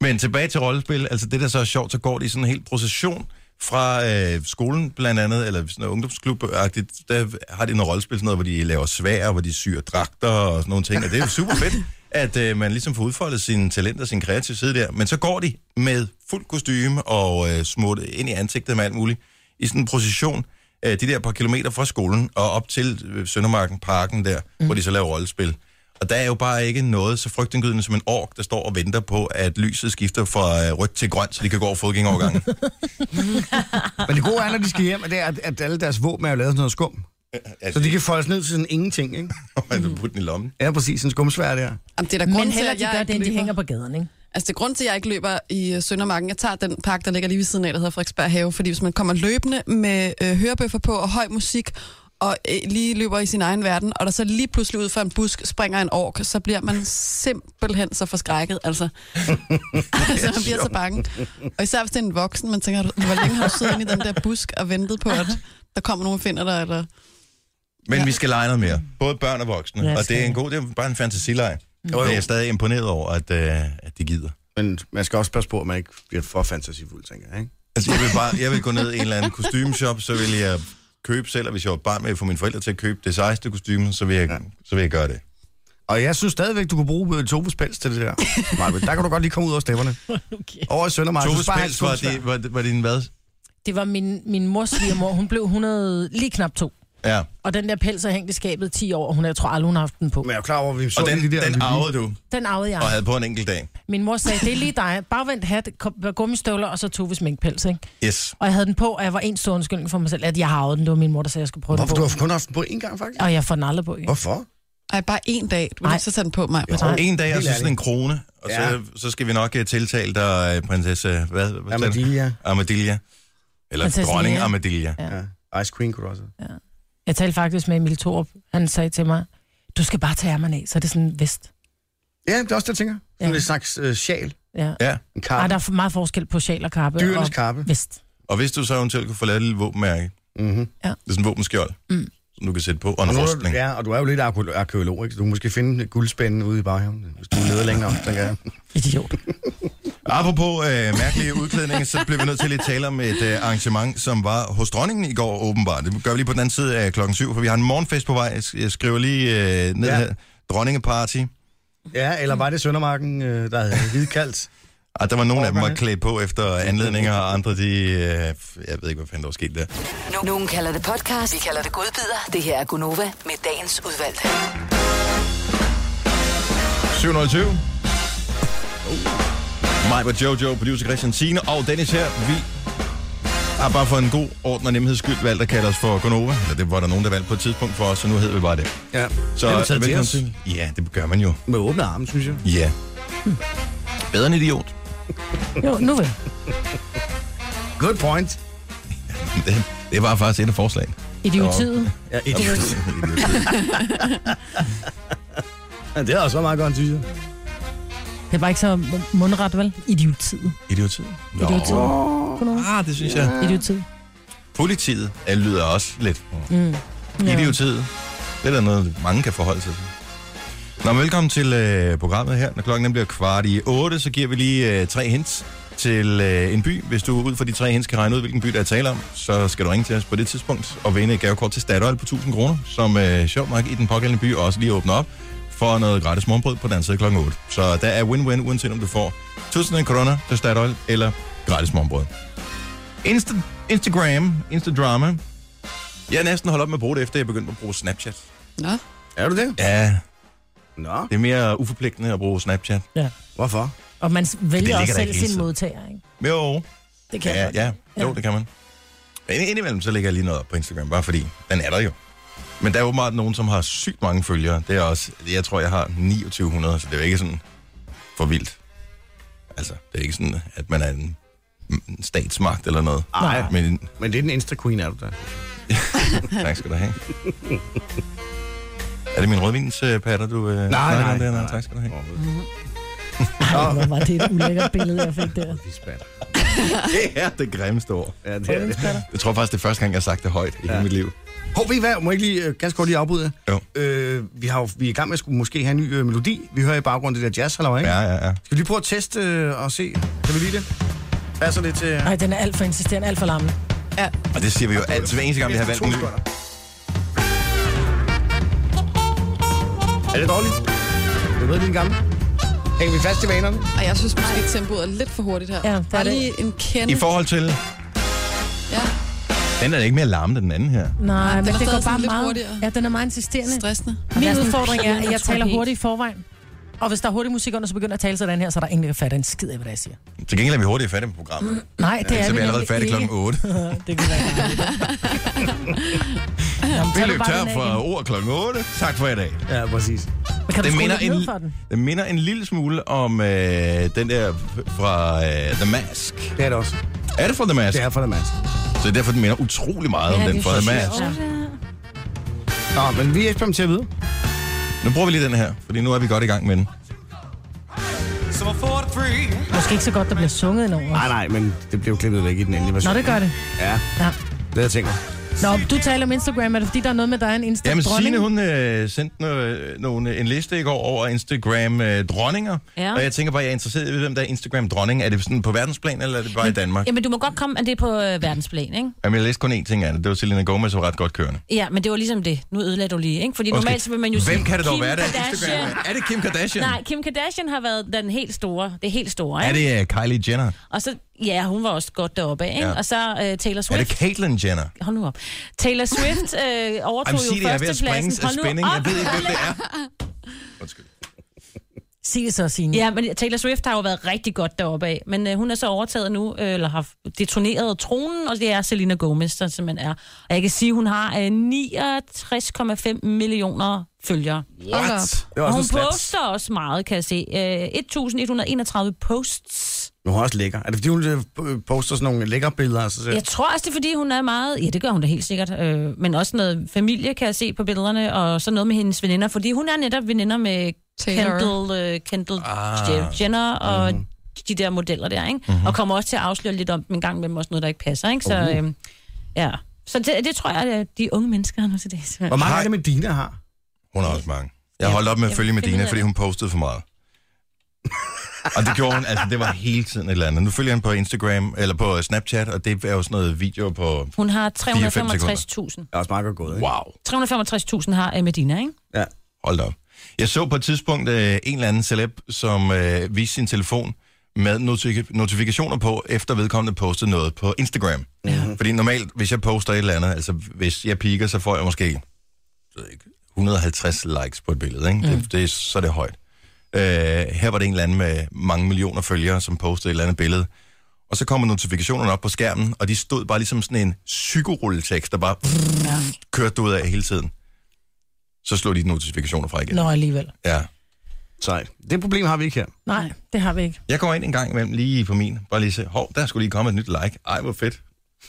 Men tilbage til rollespil, altså det der så er sjovt, så går det i sådan en hel procession fra øh, skolen blandt andet, eller sådan noget ungdomsklub der har de noget rollespil, sådan noget, hvor de laver svær, hvor de syr dragter og sådan nogle ting, og det er jo super fedt, at øh, man ligesom får udfoldet sine talenter, sin kreative side der, men så går de med fuld kostume og øh, smurt ind i ansigtet med alt muligt, i sådan en procession, øh, de der par kilometer fra skolen og op til øh, Søndermarken Parken der, mm. hvor de så laver rollespil. Og der er jo bare ikke noget så frygtindgydende som en ork, der står og venter på, at lyset skifter fra øh, rødt til grønt, så de kan gå over (laughs) fodgængerovergangen. Men det gode er, når de skal hjem, at det er, at- at alle deres våben er jo lavet sådan noget skum. Så de kan foldes ned til sådan ingenting, ikke? Man vil putte den i lommen. Ja, præcis. En skumsvær der. Jamen, det er da Men grund til, heller at de jeg gør ikke det, end de løber. hænger på gaden, ikke? Altså, det er grund til, at jeg ikke løber i øh, Søndermarken. Jeg tager den park, der ligger lige ved siden af, der hedder Frederiksberg Have. Fordi hvis man kommer løbende med øh, hørebøffer på og høj musik, og øh, lige løber i sin egen verden, og der så lige pludselig ud fra en busk springer en ork, så bliver man simpelthen så forskrækket. Altså, (laughs) altså man bliver så bange. Og især hvis det er en voksen, man tænker, hvor længe har du siddet inde i den der busk og ventet på, at der kommer nogen og finder dig, eller Men Ja. vi skal lege noget mere. Både børn og voksne. Lad os og det er se. en god, det er bare en fantasileg. Mm. Og jo. jeg er stadig imponeret over, at, øh, at de gider. Men man skal også passe på, at man ikke bliver for fantasifuld, tænker jeg, ikke? Altså, jeg vil, bare, jeg vil gå ned i en eller anden kostymeshop, så vil jeg købe selv, og hvis jeg var barn med at få mine forældre til at købe det sejeste kostyme, så vil jeg, ja. så vil jeg gøre det. Og jeg synes stadigvæk, du kunne bruge øh, Toves pels til det der. Marvind, der kan du godt lige komme ud over stemmerne. Okay. Over i Søndermarken. Tove så sparer jeg Spils var, skumsvær. det, var, det- var din hvad? Det var min, min mors svigermor, hun blev 100, lige knap to. Ja. Og den der pels er hængt i skabet i 10 år, og hun, jeg tror aldrig, hun har haft den på. Men jeg er jo klar over, at vi så Og den, lige de der... Ah. den arvede du, Den arvede jeg. og havde på en enkelt dag. Min mor sagde, det er lige dig. Bagvendt hat, kom- gummistøvler og så Toves minkpels, ikke? Yes. Og jeg havde den på, og jeg var en stor undskyldning for mig selv, at jeg har arvet den. Det var min mor, der sagde, at jeg skulle prøve Hvorfor? Du den har kun haft den på én gang, faktisk. på. Og jeg får den aldrig på. igen. Hvorfor? ej, bare en dag. Du vil Nej. ikke så tage den på mig. Nej. En dag, og Helt så sådan ærligt. en krone, og ja. Ja. så, så skal vi nok uh, tiltale dig, øh, prinsesse... Hvad, hvad sagde du? Amadilea. Amadilja. Eller Prinsesse dronning Lea. Amadilja. Ja. Ja. Ice Queen kunne du også. Jeg talte faktisk med Emil Thorup. Han sagde til mig, du skal bare tage ærmerne af, så er det sådan en vest. Ja, det er også det, jeg tænker. Sådan Ja. ja. en slags øh, sjal. Ja. Ja. En Ej, karpe. der er for meget forskel på sjal og kappe Dyrenes og karpe. vest. Og hvis du så eventuelt kunne få lavet et lille våbenmærke, Mm-hmm. det er sådan en våbenskjold, mm. som du kan sætte på, og Og, en nu, er rustning. du- ja, og du er jo lidt arke- arkeolog, ikke? Så du kan måske finde guldspænden ude i baghaven, hvis du leder længere om, tænker jeg. Idiot. Apropos øh, mærkelige udklædninger, så blev vi nødt til at lige tale om et øh, arrangement, som var hos dronningen i går åbenbart. Det gør vi lige på den anden side af klokken syv, for vi har en morgenfest på vej. Jeg sk- Jeg skriver lige øh, ned ja. Ja. her. Dronningeparty. Ah, Ja, eller var det Søndermarken, øh, der havde hvidkaldt? Ah, der var nogle af dem, der var Orkerne. klædt på efter anledninger, og andre de... Øh, jeg ved ikke, hvad fanden der var sket der. Nu- Nogen kalder det podcast, vi kalder det godbider. Det her er Gunova med dagens udvalgte. 720. Oh. Mig var Jojo, producer Christian Sine og Dennis her. Vi har bare for en god orden og nemheds skyld valgt at kalde os for Gonova. Eller det var der nogen, der valgte på et tidspunkt for os, så nu hedder vi bare det. Ja, Så Den er taget til velkommen os. til. Ja, det gør man jo. med åbne arme, synes jeg. Ja. Bedre end idiot. Jo, nu vel. Good point. Det, det var faktisk et af forslagene. Idiotiet. Ja, idiot. Ja, det er også meget godt, synes jeg. Det var ikke så mundret, vel? Idiotiet. Idiotiet. Nå. Idiotiet. Ah, det synes jeg. Idiotiet. Politiet er, lyder også lidt. Mm. Idiotiet. Det er der noget, mange kan forholde sig til. Nå, men velkommen til øh, programmet her. Når klokken den bliver kvart i 8, så giver vi lige øh, tre hints til øh, en by. Hvis du ud fra de tre hints kan regne ud, hvilken by der er tale om, så skal du ringe til os på det tidspunkt og vinde et gavekort til Statoil på 1000 kroner, som øh, sjovt nok i den pågældende by også lige åbner op for noget gratis morgenbrød på den anden side klokken 8. Så der er win-win, uanset om du får 1000 kroner til Statoil eller gratis morgenbrød. Insta, Instagram, Instadrama. Jeg er næsten holdt op med at bruge det, efter jeg begyndte at bruge Snapchat. Nå, Er du det? Ja, Nå, det er mere uforpligtende at bruge Snapchat. hvorfor? Og man ligger vælger der også selv ikke hele sin tiden. modtager, ikke? Jo, Det kan jeg ja, godt. ja. jo, Ja. det kan man. Men ind- indimellem så lægger jeg lige noget op på Instagram, bare fordi den er der jo. Men der er åbenbart nogen, som har sygt mange følgere. Det er også, jeg tror, jeg har 2900, så det er jo ikke sådan for vildt. Altså, det er ikke sådan, at man er en, en statsmagt eller noget. Nej. Men Men det er den insta queen, er du der? tak skal du (laughs) have. Er det min rødvinspatter, du øh, snakker nej, om der? nej. tak skal du have. Ej, hvor var det et ulækkert billede, jeg fik der. Det er det grimmeste ord. Ja, det er det. Jeg tror faktisk, det er første gang, jeg har sagt det højt i ja. hele mit liv. Hov, ved I hvad? Må jeg ikke lige, øh, ganske kort lige afbryde jer? Jo. Øh, vi, har, jo- vi er i gang med at skulle måske have en ny øh, melodi. Vi hører i baggrunden det der jazz, halløj, ikke? Ja, ja, ja. Skal vi lige prøve at teste øh, og se? Kan vi lide det? Passer det til... øh? Nej, den er alt for insisterende, alt for lammende. Og det siger vi jo altid, hver eneste gang, vi har valgt en ny. Er det dårligt? Jeg ved, det er en gammel. Hænger vi fast i vanerne? Og jeg synes måske, at tempoet er lidt for hurtigt her. Ja, det er Bare det. lige en kende. I forhold til... Ja. Den er da ikke mere larmende, den anden her. Nej, men den er det går stadig bare sådan lidt meget... hurtigere. Ja, den er meget insisterende. Stressende. Min Jeg er sådan- udfordring er, at jeg Tror taler helt. hurtigt i forvejen. Og hvis der er hurtig musik under, så begynder jeg at tale sådan her, så er der ingen, der kan fatte en skid af, hvad det er, jeg siger. Til gengæld er vi hurtigt færdige med programmet. Ja, Nej, det er så er vi vi allerede nemlig færdige ikke. klokken 8. (laughs) det kan være. (laughs) Jamen, Vi tag du løb bare tør den af for igen. ord klokken 8. Tak for i dag. Ja, præcis. Men Kan du Det skrue minder, lidt ned en, for den? det minder en lille smule om øh, den der fra øh, The Mask. Det er det også. Er det fra The Mask? Det Ja. er for det, Mads. Så det er derfor, den minder utrolig meget ja, om den fra The Mask. Nå, men vi eksperimenterer videre. Nu bruger vi lige den her, fordi nu er vi godt i gang med den. Måske ikke så godt, der bliver sunget indover. Nej, nej, men det blev klippet væk i den endelige Nå, version. det gør det. Ja, Ja. det havde jeg tænkt mig. Nå, du taler om Instagram. Er det fordi, der er noget med dig, en Jamen, Insta-dronning? Signe, hun øh, sendte noget, nogle, en liste i går over Instagram-dronninger. Ja. Og jeg tænker bare, jeg er interesseret i, hvem der er Instagram-dronning. Er det sådan på verdensplan, eller er det bare i Danmark? Jamen, du må godt komme, at det er på øh, verdensplan, ikke? Jamen, jeg læste kun én ting af det. Det var Selena Gomez, som var ret godt kørende. Ja, men det var ligesom det. Nu ødelagde du lige, ikke? Fordi Undskyld. normalt så vil man jo sige... Hvem kan det dog Kim være, der er Kardashian. Instagram? Er det Kim Kardashian? Nej, Kim Kardashian har været den helt store. Det helt store, Er ikke? det uh, Kylie Jenner? Og så, ja, hun var også godt deroppe, af, ikke? Ja. Og så øh, Taylor Er det Swift. Caitlyn Jenner? Hold nu op. Taylor Swift øh, overtog Jamen, jo sig det, jeg er ved at førstepladsen. springe af spænding. Jeg ved ikke, hvem det er. (laughs) Undskyld. Sig det så, Signe. Ja, men Taylor Swift har jo været rigtig godt deroppe af, men øh, hun er så overtaget nu, øh, eller har detoneret tronen, og det er Selena Gomez, der simpelthen er. Og jeg kan sige, hun har øh, 69,5 millioner følgere. Hold op. Det var Og også hun en stats. poster også meget, kan jeg se. Øh, 1131 posts. Hun er også lækker. Er det, fordi hun øh, poster sådan nogle lækre billeder? Altså, Jeg tror også, det er, fordi hun er meget... Ja, det gør hun da helt sikkert. Øh, men også noget familie, kan jeg se på billederne, og så noget med hendes veninder, fordi hun er netop veninder med Taylor. Kendall, øh, Kendall Ah. ah. Jenner og mm-hmm. de der modeller der, ikke? Mm-hmm. Og kommer også til at afsløre lidt om dem en gang imellem, også noget, der ikke passer, ikke? Så, øh, ja. Så det, det tror jeg, at øh, de unge mennesker har nu til det. Hvor mange Hej. er det med dine har? Hun har også mange. Jeg holdt op med at Ja, følge det ved Medina, jeg. fordi hun postede for meget. og det gjorde hun, altså det var hele tiden et eller andet. Nu følger jeg hende på Instagram, eller på Snapchat, og det er jo sådan noget video på... Hun har Det er også meget godt gået, ikke? Wow, 365.000. 365.000 har øh, Medina, ikke? Ja. hold da op. Jeg så på et tidspunkt øh, en eller anden celeb, som øh, viste sin telefon med notif- notifikationer på, efter vedkommende postede noget på Instagram. Mm-hmm. Fordi normalt, hvis jeg poster et eller andet, altså hvis jeg piker, så får jeg måske jeg ved ikke, 150 likes på et billede, ikke? Mm. Det, det, er- så er det højt. Øh, her var det en eller anden med mange millioner følgere, som postede et eller andet billede. Og så kommer notifikationerne op på skærmen, og de stod bare ligesom sådan en psykorulletekst, der bare kørte ud af hele tiden. Så slog de notifikationer fra igen. Nå, alligevel. Ja. Sejt. Det problem har vi ikke her. Nej, det har vi ikke. Jeg går ind en gang imellem lige på min, bare lige se, hov, der skulle lige komme et nyt like. Ej, hvor fedt.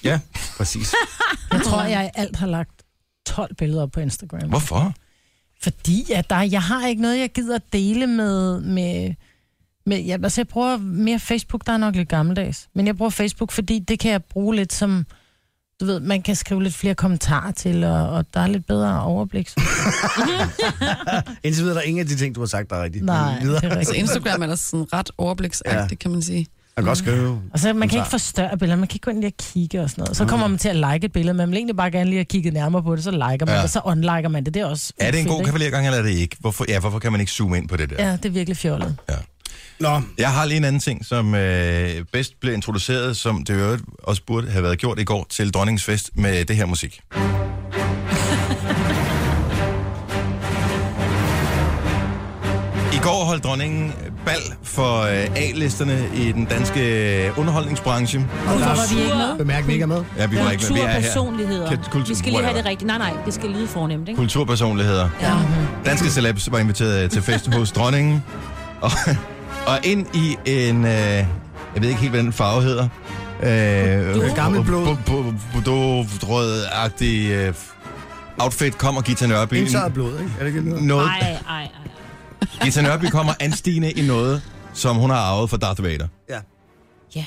Ja, præcis. Jeg tror, jeg i alt har lagt 12 billeder op på Instagram. Hvorfor? Fordi at der, jeg har ikke noget, jeg gider at dele med... med med, ja, altså jeg bruger mere Facebook, der er nok lidt gammeldags. Men jeg bruger Facebook, fordi det kan jeg bruge lidt som... Du ved, man kan skrive lidt flere kommentarer til, og, og der er lidt bedre overblik. (laughs) Indtil videre er der ingen af de ting, du har sagt, der er rigtigt. Nej, Men det videre. Altså, er Så rigtigt. Altså, Instagram er da sådan ret overbliksagtigt, kan man sige. Man kan godt skrive. Og så man kan ikke forstørre billeder, man kan ikke gå ind lige og kigge og sådan noget. Så Ah. kommer man til at like et billede, men man vil egentlig bare gerne lige at kigge nærmere på det, så liker man Ja. ja. det, så unliker man det. Det er også Er det en fedt, god ikke? kavaliergang, eller er det ikke? Hvorfor, ja, hvorfor kan man ikke zoome ind på det der? Ja, det er virkelig fjollet. Nå, Jeg har lige en anden ting, som øh, bedst blev introduceret, som det i øvrigt også burde have været gjort i går til Dronningens Fest med det her musik. I går holdt dronningen bal for øh, A-listerne i den danske underholdningsbranche. Hvorfor var vi ikke med? bemærk, vi ikke er med. Ja, vi var ikke med. Vi er her. Kulturpersonligheder. Kat- kultur- vi skal lige have whatever. det rigtigt. Nej, nej, det skal lyde fornemt, ikke? Kulturpersonligheder. Ja. øh, Danske celebs var inviteret til fest hos dronningen. Og Og ind i en, øh, jeg ved ikke helt, hvad den farve hedder. Øh, Gammel blå. Bordeaux-rød-agtig øh, outfit kommer Gita Nørby. Indtaget blod, ikke? Er det ikke det? Noget, Ej, ej, ej. Gita Nørby kommer anstigende i noget, som hun har arvet fra Darth Vader. Ja. Ja.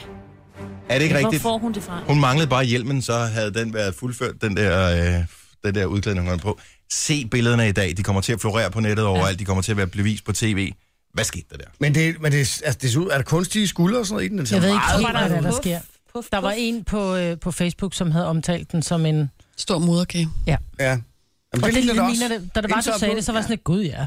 Er det ikke Hvor rigtigt? får hun det fra? Hun manglede bare hjelmen, så havde den været fuldført, den der, øh, den der udklædning, hun havde på. Se billederne i dag. De kommer til at florere på nettet overalt. De kommer til at være bevis på tv. Hvad skete der der? Men, det, men det, altså, det ser ud, er der kunstige skuldre og sådan noget i den? Den ser Jeg ved ikke meget helt, hvad der, er, der sker. Puff, Der var puff. en på, øh, på Facebook, som havde omtalt den som en... Stor moderkage. Ja. Jamen, Og det, det ligner også. det. Da det var, du Indtaget sagde blod, det, så var ja. jeg sådan lidt, gud ja.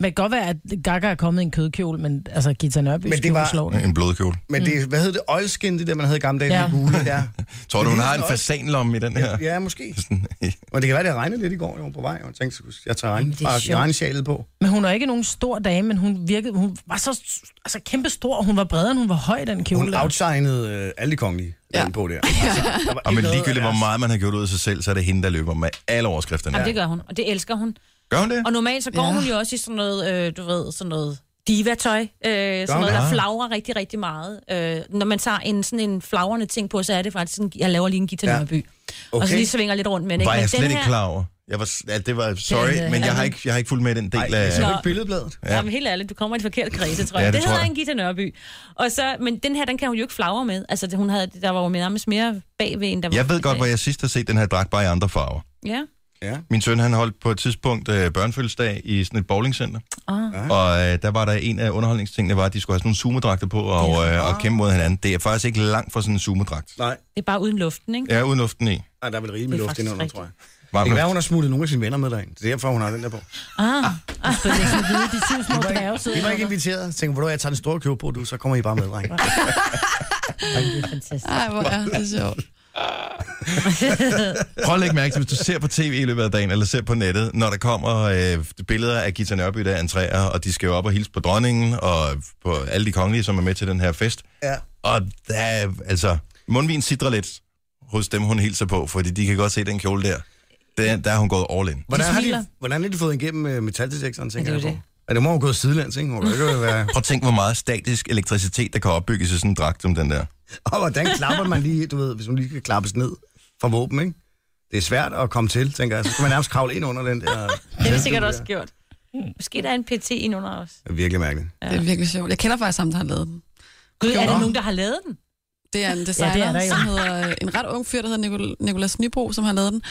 Men det kan godt være, at Gaga er kommet i en kødkjole, men altså Gita Nørby Men det skulle var- slå den. En blodkjole. Men det, er- hvad hed det? Oilskin, det der, man havde i gamle dage, ja. Mm. Ja. det gule (laughs) der. Tror du, Det hun ligner har en den også. fasanlomme i den her? Ja, måske. Sådan, Og det kan være, det regnede lidt i går, jeg var på vej, og jeg tænkte, jeg tager regn, Jamen, det er bare sjovt. regnsjalet på. Men hun er ikke nogen stor dame, men hun virkede, hun var så altså, kæmpe stor, og hun var bredere, end hun var høj, den kjole. Hun der. outshinede øh, alle de kongelige Ja. ja. (laughs) på der. Altså, der var Og men ikke noget ligegyldigt, af hvor deres- meget man har gjort ud af sig selv, så er det hende, der løber med alle overskrifterne. Jamen, det gør hun, og det elsker hun. Gør hun det? Og normalt så går ja. hun jo også i sådan noget, øh, du ved, sådan noget divatøj. Øh, sådan hun noget, det? der flagrer rigtig, rigtig meget. Øh, når man tager en, sådan en flagrende ting på, så er det faktisk sådan, jeg laver lige en guitar Ja. ja. Nørreby. Okay. Og så Okay. lige svinger lidt rundt med den. Var Men jeg den slet ikke her- klar over? Jeg var, s- ja, det var, sorry, Den, øh, men jeg har, anden- ikke, jeg har ikke fulgt med i den del Ej, af... så er det Nå. ikke billedbladet. Ja. Ja. Jamen helt ærligt, du kommer i de forkerte kredse, tror Ja, jeg. det det, det tror hedder jeg. en Gita Nørby. Og så, men den her, den kan hun jo ikke flagre med. Altså, det, hun havde, der var jo nærmest mere bagved en, der var... Jeg ved godt, hvor jeg sidst har set den her dragt, bare i andre farver. Ja. Ja. Min søn, han holdt på et tidspunkt øh, børnefødselsdag i sådan et bowlingcenter. Ah. Og øh, der var der en af underholdningstingene, var, at de skulle have sådan nogle sumodragter på og, øh, og kæmpe mod hinanden. Det er faktisk ikke langt fra sådan en sumodragt. Nej, Det er bare uden luften, ikke? Ja, uden luften i. nej, der er vel rigeligt Det med er luft faktisk indenunder, rigtigt. tror jeg. Det Varmt kan luft. være, hun har smuglet nogle af sine venner med derind. Det er derfor, hun har den der på. Ah. Og spille ikke sådan videre, de syv små dværge Vi var ikke sidder. inviteret. Jeg tænkte, hvor jeg tager den store købe på, du, så kommer I bare med, dreng. Det er fantastisk. Ej, hvor er det sjovt. Prøv at lægge mærke til, hvis du ser på tv i løbet af dagen, eller ser på nettet, når der kommer øh, billeder af Gita Nørby, der entrerer, og de skal jo op og hilse på dronningen, og på alle de kongelige, som er med til den her fest. Ja. Og der, er- altså, mundvin sidder lidt hos dem, hun hilser på, fordi de kan godt se den kjole der. Der, der er hun gået all in. Hvordan har, smiler. de, hvordan har de fået igennem øh, metaldetektoren, tænker Ja, jeg det er på? jo Ja, det må jo gå sidelands, ikke? Hun kan jo ikke øh, være... Prøv at tænk, hvor meget statisk elektricitet, der kan opbygges i sådan en dragt som den der. (laughs) Og hvordan klapper man lige, du ved, hvis hun lige skal klappes ned fra våben, ikke? Det er svært at komme til, tænker jeg. Så skal man nærmest kravle ind under den der... Det har vi sikkert også gjort. Måske der er en PT ind under os. Det er virkelig mærkeligt. Ja. Det er virkelig sjovt. Jeg kender faktisk ham, der har lavet den. Gud, er der Nå. nogen, der har lavet den? Det er en designer, det ja, er der det jo. er som hedder øh, en ret ung fyr, der hedder Nicol- Nicolas Nybro, som har lavet den.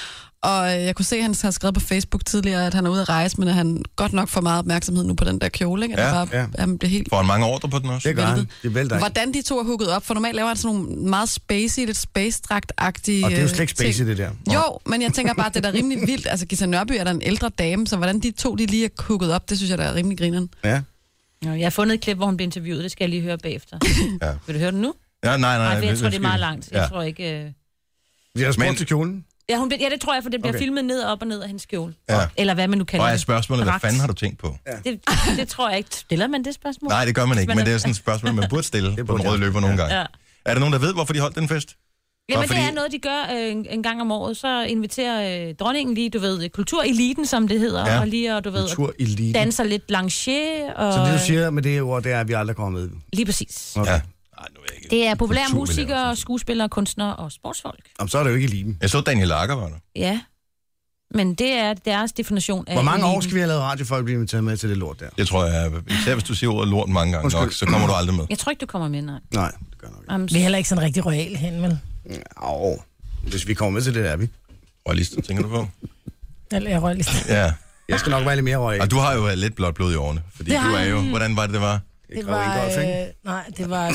Og øh, jeg kunne se, at han har skrevet på Facebook tidligere, at han er ude at rejse, men at han godt nok får meget opmærksomhed nu på den der kjole. Ikke? At Ja, ja, bare, ja. ja. Han bliver helt... Får han mange ordre på den også? Det gør han. Væltet. Det vælter ikke. Hvordan de to er hooket op, for normalt laver han sådan nogle meget spacey, lidt spacedragt-agtige Og det er jo øh, slet ikke spacey, det ting. der. Jo, men jeg tænker bare, at det er da rimelig vildt. Altså, Gita Nørby er da en ældre dame, så hvordan de to de lige er hooket op, det synes jeg, der er rimelig grineren. Ja. Nå, jeg har fundet et klip, hvor hun blev interviewet. Det skal jeg lige høre bagefter. (laughs) Ja. Vil du høre den nu? Ja, nej, nej. Nej, for jeg vi- tror, det er meget vi- langt. Jeg Ja. tror ikke... øh, Vi har Men- spurgt til kjolen. Ja, hun, bliver- ja, det tror jeg, for det bliver Okay. filmet ned og op og ned af hendes kjole. Ja. Eller hvad man nu kalder Og er det. spørgsmålet, hvad Dragt. fanden har du tænkt på? det. Det tror jeg ikke. Stiller man det spørgsmål? Nej, det gør man ikke, man men er- det er sådan et spørgsmål, man burde (laughs) stille på burde den røde jeg. løber nogle gange. Ja. Er der nogen, der ved, hvorfor de holdt den fest? Jamen, fordi- det er noget, de gør øh, en- en gang om året. Så inviterer øh, dronningen lige, du ved, kultureliten, som det hedder, Ja. ja. og lige, og du ved, Kultur elite. danser lidt lanché, og Så det, du siger med det ord, det er, at vi aldrig kommer med. lige præcis. Okay. Ja. Ja. Ej, nu er jeg ikke. Det er populære Kultureliten, musikere, synes jeg. skuespillere, kunstnere og sportsfolk. Jamen, så er det jo ikke eliten. Jeg så Daniel Lager, var der. Ja. Men det er deres definition af... Hvor mange år skal vi have lavet radio, for at blive inviteret med til det lort der? Det tror jeg, især hvis du siger ordet lort mange gange Undskyld. nok, så kommer du aldrig med. Jeg tror ikke, du kommer med, nej. Nej, det gør nok ikke. Um, Vi er heller ikke sådan rigtig royal hen, vel? Au. Hvis vi kommer med til det, der er vi. Royalist, tænker du på? Eller jeg royal. Ja. Jeg skal nok være lidt mere røg. Og du har jo lidt blåt blod i årene, fordi Det du har er jo... jeg. Hvordan var det, det var? Det var... Øh, nej, det var...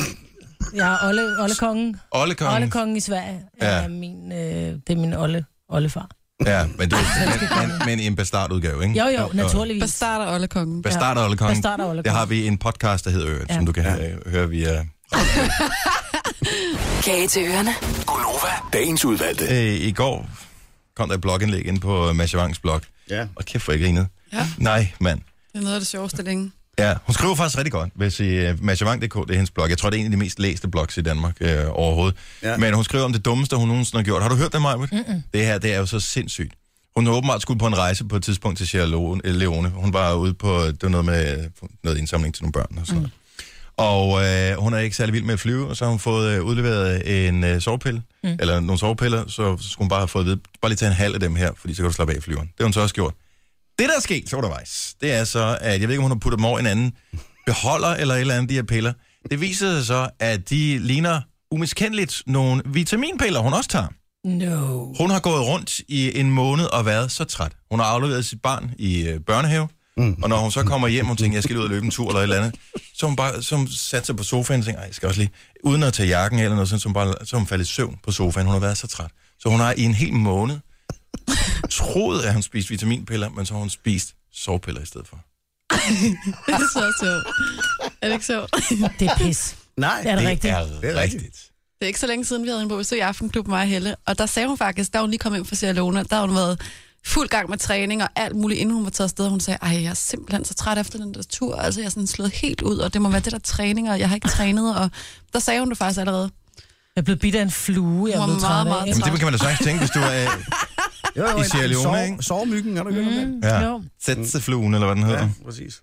Jeg er Olle, Olle Kongen. Olle Olle Kongen. Kongen i Sverige. Ja. Ja. Er min, øh, det er min Olle, Ollefar. Ja, men, det var, men, men, i en bastardudgave, ikke? Jo, jo, naturligvis. Bastarder Olle Kongen. Bastard og Olle Kongen. Bastard og Olle Det har Kongen. vi en podcast, der hedder Øret, ja. som du kan øh, høre via Kage til ørerne. Gonova, dagens udvalgte. øh, i går kom der et blogindlæg ind på øh, Masha Wangs blog. Ja. Og kæft, hvor jeg grinede. Ja. Nej, mand. Det er noget af det sjoveste længe. Ja, hun skriver faktisk rigtig godt, hvis I, uh, Mashavang.dk, det er hendes blog. Jeg tror, det er en af de mest læste blogs i Danmark øh, overhovedet. Ja. Ja. Men hun skriver om det dummeste, hun nogensinde har gjort. Har du hørt det, Majbert? Det her, det er jo så sindssygt. Hun har åbenbart skulle på en rejse på et tidspunkt til Sierra Leone. Leone. Hun var ude på, det var noget med øh, noget indsamling til nogle børn og sådan mm. Og øh, hun er ikke særlig vild med at flyve, og så har hun fået øh, udleveret en øh, sovepille, mm. Mm. eller nogle sovepiller, så skulle hun bare have fået at vide, bare lige tage en halv af dem her, fordi så kan du slappe af i flyveren. Det har hun så også gjort. Det, der er sket så undervejs, det er så, at jeg ved ikke, om hun har puttet dem over en anden beholder eller et eller andet, de her piller. Det viser sig så, at de ligner umiskendeligt nogle vitaminpiller, hun også tager. No. Hun har gået rundt i en måned og været så træt. Hun har afleveret sit barn i øh, børnehave, mm. og når hun så kommer hjem, hun tænker, jeg skal lige ud og løbe en tur eller et eller andet, så hun bare så hun satte sig på sofaen og tænker, "Ej, jeg skal også lige, uden at tage jakken af eller noget, sådan, så hun, bare, så hun faldt i søvn på sofaen. Hun har været så træt. Så hun har i en hel måned troet, at hun spiste vitaminpiller, men så har hun spist sovepiller i stedet for. (laughs) det er så sjovt. Er det ikke sjovt? det er pis. Nej, er det, det rigtigt. er rigtigt. Det er rigtigt. (laughs) Det er ikke så længe siden, vi havde hende på besøg i Aftenklub, mig og Helle. Og der sagde hun faktisk, da hun lige kom ind fra Sierra Leone, der havde hun været fuld gang med træning og alt muligt, inden hun var taget afsted. Og Hun sagde, ej, jeg er simpelthen så træt efter den der tur. Altså, jeg er sådan slået helt ud, og det må være det der træning, og jeg har ikke trænet. Og der sagde hun det faktisk allerede. Jeg blev bidt af en flue, jeg Hun blev var meget, træt af. meget ikke? Jamen, det kan man da sagtens tænke, hvis du er Jo, jo, i en- Sierra en Leone, sove- ikke? Mm-hmm. Sovemyggen, har du ikke hørt om den? Ja. Jo. Sætsefluen, eller hvad den hedder. Præcis.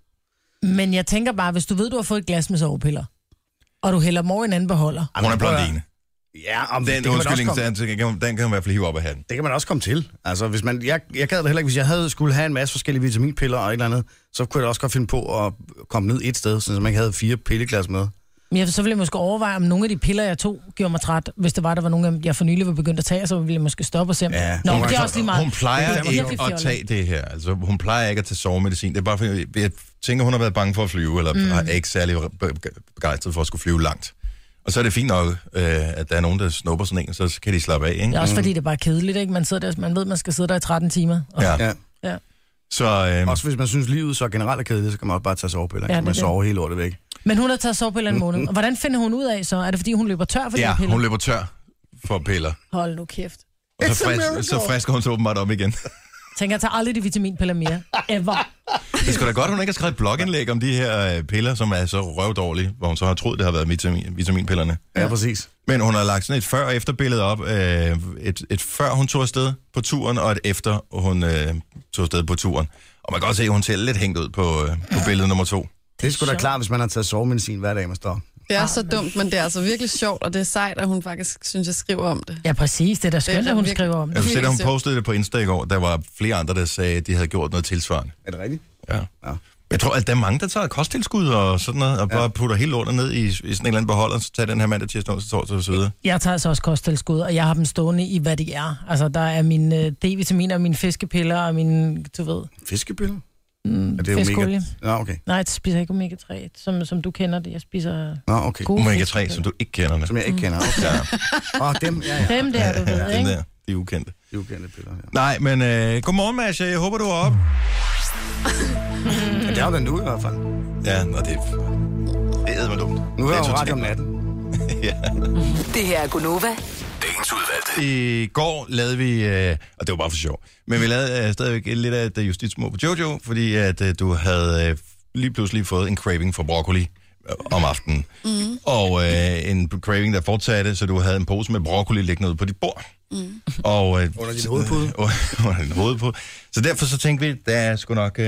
Men jeg tænker bare, hvis du ved, du har fået et glas med sovepiller, og du hælder dem over i en anden beholder. Hun er blondine. Ja, om det, Den kan man også undskyldning, komme- den, den kan man i hvert fald hive op af hatten. Det kan man også komme til. Altså, hvis man, jeg, jeg gad det heller ikke, hvis jeg havde, skulle have en masse forskellige vitaminpiller og et eller andet, så kunne jeg da også godt finde på at komme ned et sted, sådan, så man ikke havde fire pilleglas med. Men jeg, så ville jeg måske overveje, om nogle af de piller, jeg tog, gjorde mig træt. Hvis det var, der var nogle af dem, jeg for nylig var begyndt at tage, så ville jeg måske stoppe og se. om- Nå, men det er også lige meget. altså, Hun plejer Det er virkelig ikke at fjollet. tage det her. Altså, hun plejer ikke at tage sovemedicin. Det er bare fordi, jeg tænker, hun har været bange for at flyve, eller Mm. er ikke særlig be- be- begejstret for at skulle flyve langt. Og så er det fint nok, øh, at der er nogen, der snupper sådan en, så kan de slappe af, ikke? Det er også fordi, det er bare kedeligt, ikke? Man, sidder der, man ved, man skal sidde der i 13 timer. Og- Ja. Ja. Ja. Så, øh, Også hvis man synes, livet så generelt er kedeligt, så kan man også bare tage sovepiller. Ja, Ja, kan det man er det. sove hele lortet væk. Men hun har taget sovepiller en måned. Og hvordan finder hun ud af så? Er det fordi, hun løber tør for de Mm. ja, her piller? hun løber tør for piller. Hold nu kæft. Og så, It's a miracle. frisk, så frisker hun så åbenbart op (laughs) igen. Tænker, jeg tager aldrig de vitaminpiller mere. Ever. Det skulle da godt, hun ikke har skrevet et blogindlæg om de her øh, piller, som er så røvdårlige, hvor hun så har troet, det har været vitamin, vitaminpillerne. Ja, ja præcis. Men hun har lagt sådan et før- og efterbillede op. Øh, et, et før hun tog afsted på turen, og et efter hun øh, tog afsted på turen. Og man kan godt se, at hun ser lidt hængt ud på, øh, på billede nummer to. Altså, Det er sgu da klart, hvis man har taget sovemedicin hver dag, man står. Det er så dumt, men det er altså virkelig sjovt, og det er sejt, at hun faktisk synes, jeg skriver om det. Ja, præcis. Det er da skønt, at hun skriver om Jeg kunne se, da hun postede det på Insta i går, der var flere andre, der sagde, at de havde gjort noget tilsvarende. Er det rigtigt? Ja. ja. Jeg tror, at der er mange, der tager kosttilskud og sådan noget, og bare putter hele lortet ned i, i sådan en eller anden beholder, så tager den her mandag, tirsdag, onsdag, torsdag og så videre. Jeg tager altså også kosttilskud, og jeg har dem stående i, hvad de er. Altså, der er mine øh, D-vitaminer, og mine fiskepiller og mine, du ved... Fiskepiller? Mm, Er det fiskolie. omega? Nå, okay. Nej, jeg spiser ikke omega-3, som, som du kender det. Jeg spiser... Nå, okay. Gode Omega-3, som du ikke kender. Det. Uh, Som jeg ikke kender. Okay. Ja. Mm. (laughs) Åh, dem, ja, ja. Dem der, du (laughs) (laughs) ved, Dem ikke? der, de er ukendte. De er ukendte piller, ja. Nej, men øh, godmorgen, Masha. Jeg håber, du er op. Men det er jo den nu i hvert fald. Ja, og det, det er mig dumt. Nu Det er er jo totalt- ret om natten. Det her er Gunova. Dagens udvalgte. I går lavede vi, øh, og det var bare for sjov, men vi lavede øh, stadigvæk et lidt af et øh, justitsmord på Jojo, fordi at øh, du havde øh, lige pludselig fået en craving for broccoli øh, om aftenen. Mm. Og øh, en craving, der fortsatte, så du havde en pose med broccoli liggende ude på dit bord. Mm. Og, øh, Under din hovedpude. (laughs) under din hovedpude. Så derfor så tænkte vi, der er sgu nok øh,